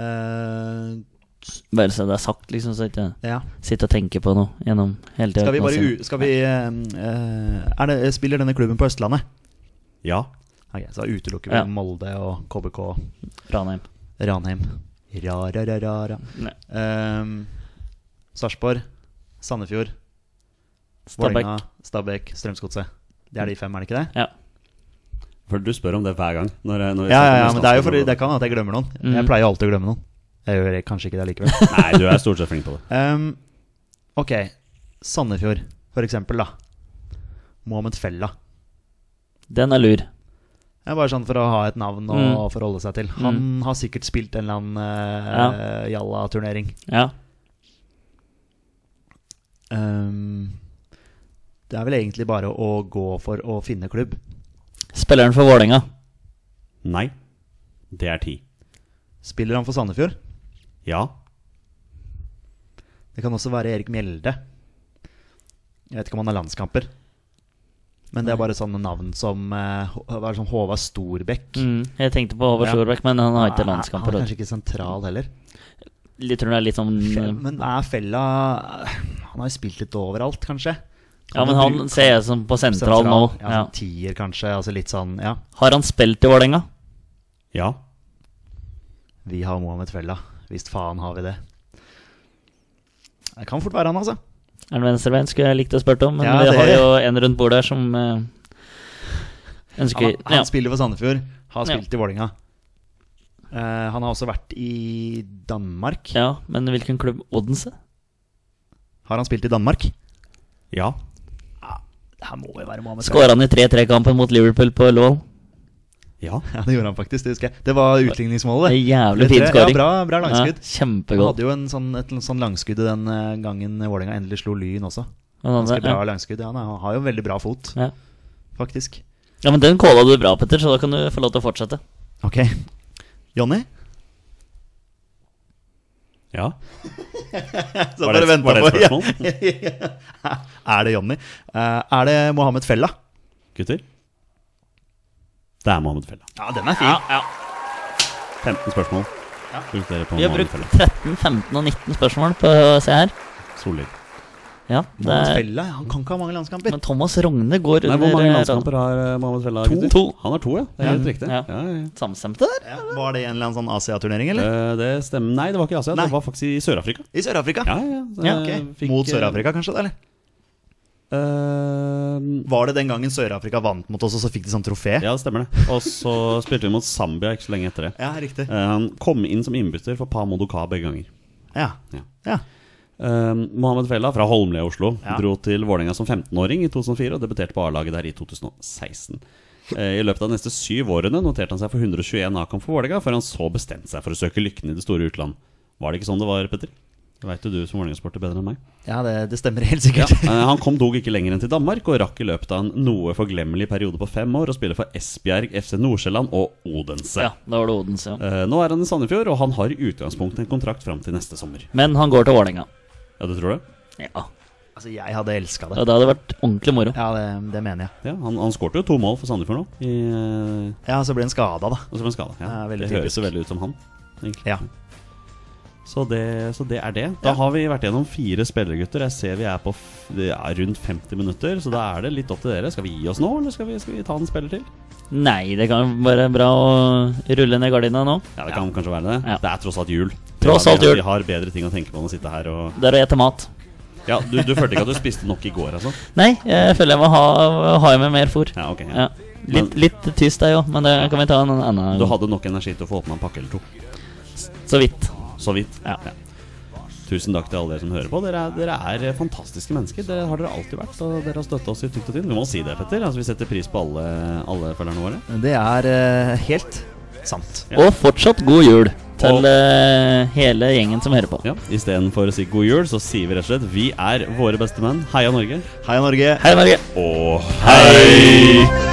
Speaker 2: Eh,
Speaker 3: bare så det er sagt, liksom, så jeg ikke
Speaker 2: ja.
Speaker 3: sitter og tenker på noe gjennom hele tida.
Speaker 2: Skal vi bare u skal vi, eh, er det, Spiller denne klubben på Østlandet?
Speaker 1: Ja.
Speaker 2: Ok, så da utelukker vi
Speaker 3: Ja.
Speaker 2: Molde og KBK
Speaker 3: Ranheim.
Speaker 2: Ranheim. Ra-ra-ra-ra.
Speaker 3: Nei.
Speaker 2: Um, Sarpsborg, Sandefjord,
Speaker 3: Stabæk.
Speaker 2: Vålerenga, Stabæk, Strømsgodset. Det er de fem, er det ikke det?
Speaker 3: Ja.
Speaker 1: For du spør om det hver gang. Når, jeg- når jeg
Speaker 2: Ja, ja,
Speaker 1: snakker
Speaker 2: ja,
Speaker 1: om
Speaker 2: men det er jo fordi
Speaker 1: Østlandsklubben.
Speaker 2: det kan at jeg glemmer noen.
Speaker 3: Mm.
Speaker 2: Jeg pleier alltid å glemme noen. Jeg gjør kanskje ikke det likevel.
Speaker 1: Nei, du er stort sett flink på det.
Speaker 2: Um, ok, Sandefjord, for eksempel, da. Mohammed Fella.
Speaker 3: Den er lur.
Speaker 2: Det er bare sånn for å ha et navn å
Speaker 3: Mm.
Speaker 2: forholde seg til. Han har sikkert spilt en eller annen eh, jalla-turnering.
Speaker 3: Ja.
Speaker 2: Ehm, det er vel egentlig bare å gå for å finne klubb.
Speaker 3: Spilleren for Vålerenga.
Speaker 1: Nei. Det er ti.
Speaker 2: Spiller han for Sandefjord?
Speaker 1: Ja.
Speaker 2: Det kan også være Erik Mjelde. Jeg vet ikke om han har landskamper. Men det er bare sånne navn som eh, Hå- hva er det som Håvard Storbekk.
Speaker 3: Mm, jeg tenkte på Håvard
Speaker 2: Ja.
Speaker 3: Storbekk, men han har ikke
Speaker 2: Nei, Han
Speaker 3: landskamper.
Speaker 2: er kanskje ikke sentral heller.
Speaker 3: Jeg tror det er litt sånn eh,
Speaker 2: Men er Fella Han har jo spilt litt overalt, kanskje.
Speaker 3: Ja, men
Speaker 2: bruke-
Speaker 3: han ser jeg som på sentral nå.
Speaker 2: Sentral, Ja,
Speaker 3: Ja.
Speaker 2: sånn Tier, kanskje. Altså litt sånn, ja.
Speaker 3: Har han spilt i Vålerenga?
Speaker 1: Ja.
Speaker 2: Vi har Mohammed Fella. Visst faen har vi det. Det kan fort være han, altså.
Speaker 3: Er han venstrebeint, skulle jeg likt å spørre om, men
Speaker 2: Ja,
Speaker 3: vi
Speaker 2: det-
Speaker 3: har jo en rundt bordet her som eh, ønsker
Speaker 2: Han, han
Speaker 3: ja.
Speaker 2: spiller for Sandefjord. Har
Speaker 3: Ja.
Speaker 2: spilt i Vålinga. han har også vært i Danmark.
Speaker 3: ja, men hvilken klubb? Odense?
Speaker 2: Har han spilt i Danmark?
Speaker 1: Ja.
Speaker 2: Det her må jo være Mohammed Fella.
Speaker 3: Skåra han i 3-3-kampen mot Liverpool på Ullevål?
Speaker 1: Ja.
Speaker 2: Ja, det gjorde han faktisk. Det husker jeg. Det var
Speaker 3: Det
Speaker 2: utligningsmålet.
Speaker 3: er
Speaker 2: det.
Speaker 3: Jævlig
Speaker 2: Det
Speaker 3: fin
Speaker 2: tre- Ja,
Speaker 3: skåring.
Speaker 2: bra, bra langskudd. Han
Speaker 3: kjempegodt.
Speaker 2: hadde jo en sånn, et sånn langskudd den eh, gangen Vålinga endelig slo Lyn også.
Speaker 3: Han
Speaker 2: Ganske
Speaker 3: hadde-
Speaker 2: bra
Speaker 3: ja.
Speaker 2: langskudd. Ja, han har jo veldig bra fot,
Speaker 3: Ja.
Speaker 2: faktisk.
Speaker 3: ja, men den calla du bra, Petter, så da kan du få lov til å fortsette.
Speaker 2: Ok. Jonny?
Speaker 1: Ja.
Speaker 2: Så
Speaker 1: Var det-
Speaker 2: bare venta
Speaker 1: var det et
Speaker 2: på- Ja. er det Jonny? Eh, er det Mohammed Fella?
Speaker 1: Gutter. Det er Mohammed Fella.
Speaker 2: Ja, den er fin.
Speaker 3: Ja, ja.
Speaker 1: 15 spørsmål. Brukte dere på
Speaker 3: Vi har
Speaker 1: Mohammed
Speaker 3: brukt
Speaker 1: Fella.
Speaker 3: 13, 15 og 19 spørsmål på å se her.
Speaker 1: Solid.
Speaker 3: Ja, det
Speaker 2: Mohammed
Speaker 3: er,
Speaker 2: Fella, Han kan ikke ha mange landskamper.
Speaker 3: men Thomas Rogne går
Speaker 1: Nei,
Speaker 3: under
Speaker 1: hvor mange
Speaker 3: eh,
Speaker 1: landskamper har eh, Mohammed Fella?
Speaker 3: To.
Speaker 1: gutter?
Speaker 3: To.
Speaker 1: Han har to, ja. Det er
Speaker 3: Ja.
Speaker 1: helt riktig.
Speaker 3: Ja.
Speaker 1: Ja. Ja, ja.
Speaker 3: Samstemte der?
Speaker 2: Ja, var det en eller annen sånn Asia-turnering, eller?
Speaker 1: Eh, Det stemmer. Nei, det var ikke i Asia.
Speaker 2: Nei.
Speaker 1: Det var faktisk i Sør-Afrika.
Speaker 2: I Sør-Afrika.
Speaker 1: Ja, ja. Så
Speaker 2: Ja, ok.
Speaker 1: jeg fikk,
Speaker 2: Mot
Speaker 1: eh,
Speaker 2: Sør-Afrika, kanskje? da, eller?
Speaker 1: eh,
Speaker 2: Var det den gangen Sør-Afrika vant mot oss, og så fikk de sånn trofé?
Speaker 1: Ja, det stemmer det. Og så spilte vi mot Zambia ikke så lenge etter det.
Speaker 2: Ja, riktig.
Speaker 1: Eh, Han kom inn som innbytter for Pa Modoka begge ganger.
Speaker 2: Ja.
Speaker 1: Ja.
Speaker 2: ja.
Speaker 1: Eh, Mohammed Fella fra Holmlia i Oslo
Speaker 2: Ja.
Speaker 1: dro til Vålerenga som 15-åring i 2004 og debuterte på A-laget der i 2016. Eh, I løpet av de neste syv årene noterte han seg for 121 A-kamp for Vålerenga, før han så bestemte seg for å søke lykken i det store utland. Var det ikke sånn det var, Petter? Det veit jo du som Vålerenga-sporter bedre enn meg.
Speaker 2: Ja, det, det stemmer helt sikkert.
Speaker 1: Eh, Han kom dog ikke lenger enn til Danmark, og rakk i løpet av en noe forglemmelig periode på fem år å spille for Esbjerg, FC Nordsjælland og Odense.
Speaker 3: Ja, da var det Odense. Ja.
Speaker 1: Eh, Nå er han i Sandefjord, og han har i utgangspunktet en kontrakt fram til neste sommer.
Speaker 3: Men han går til Vålerenga.
Speaker 1: Ja, du tror det?
Speaker 3: Ja.
Speaker 2: Altså, jeg hadde elska
Speaker 3: Og
Speaker 2: det.
Speaker 3: det hadde vært ordentlig moro.
Speaker 2: Ja, det, det mener jeg.
Speaker 1: Ja, Han, han skårte jo to mål for Sandefjord nå, i, eh,
Speaker 2: Ja, så ble han skada, da.
Speaker 1: og som en skade. Ja.
Speaker 2: Ja, veldig
Speaker 1: det høres jo veldig ut som han. egentlig.
Speaker 2: Ja.
Speaker 1: Så det, så det er det. Da har vi vært gjennom fire spillergutter. Jeg ser vi er på f ja, rundt 50 minutter, så da er det litt opp til dere. Skal vi gi oss nå, eller skal vi, skal vi ta en spiller til?
Speaker 3: Nei, det kan være bra å rulle ned gardina nå.
Speaker 1: Ja, det kan kanskje være det.
Speaker 3: Ja.
Speaker 1: Det er tross alt jul.
Speaker 3: Tross
Speaker 1: Vi har-
Speaker 3: alt jul.
Speaker 1: Vi har bedre ting å tenke på enn å sitte her og
Speaker 3: Det er å ete mat.
Speaker 1: Ja, du, du følte ikke at du spiste nok i går, altså?
Speaker 3: Nei, jeg føler jeg må ha, ha i meg mer fôr.
Speaker 1: Ja, ok.
Speaker 3: Ja.
Speaker 1: Ja.
Speaker 3: Litt, litt tyst der jo, men det kan vi ta en annen
Speaker 1: Du
Speaker 3: gang.
Speaker 1: hadde nok energi til å få åpna en pakke eller to.
Speaker 3: Så vidt.
Speaker 1: Så vidt.
Speaker 3: Ja.
Speaker 1: Tusen takk til alle dere som hører på. Dere er, dere er eh, fantastiske mennesker. Dere har dere alltid vært, og dere har støtta oss i tykt og tynt. Vi må si det, Petter. Altså, vi setter pris på alle, alle følgerne våre.
Speaker 2: Det er eh, helt sant.
Speaker 1: Ja.
Speaker 3: Og fortsatt god jul
Speaker 1: Og-
Speaker 3: til eh, hele gjengen som hører på.
Speaker 1: Ja, Istedenfor å si god jul, så sier vi rett og slett vi er våre beste menn. Heia Norge.
Speaker 2: Heia Norge.
Speaker 3: Hei, Norge!
Speaker 1: Og hei!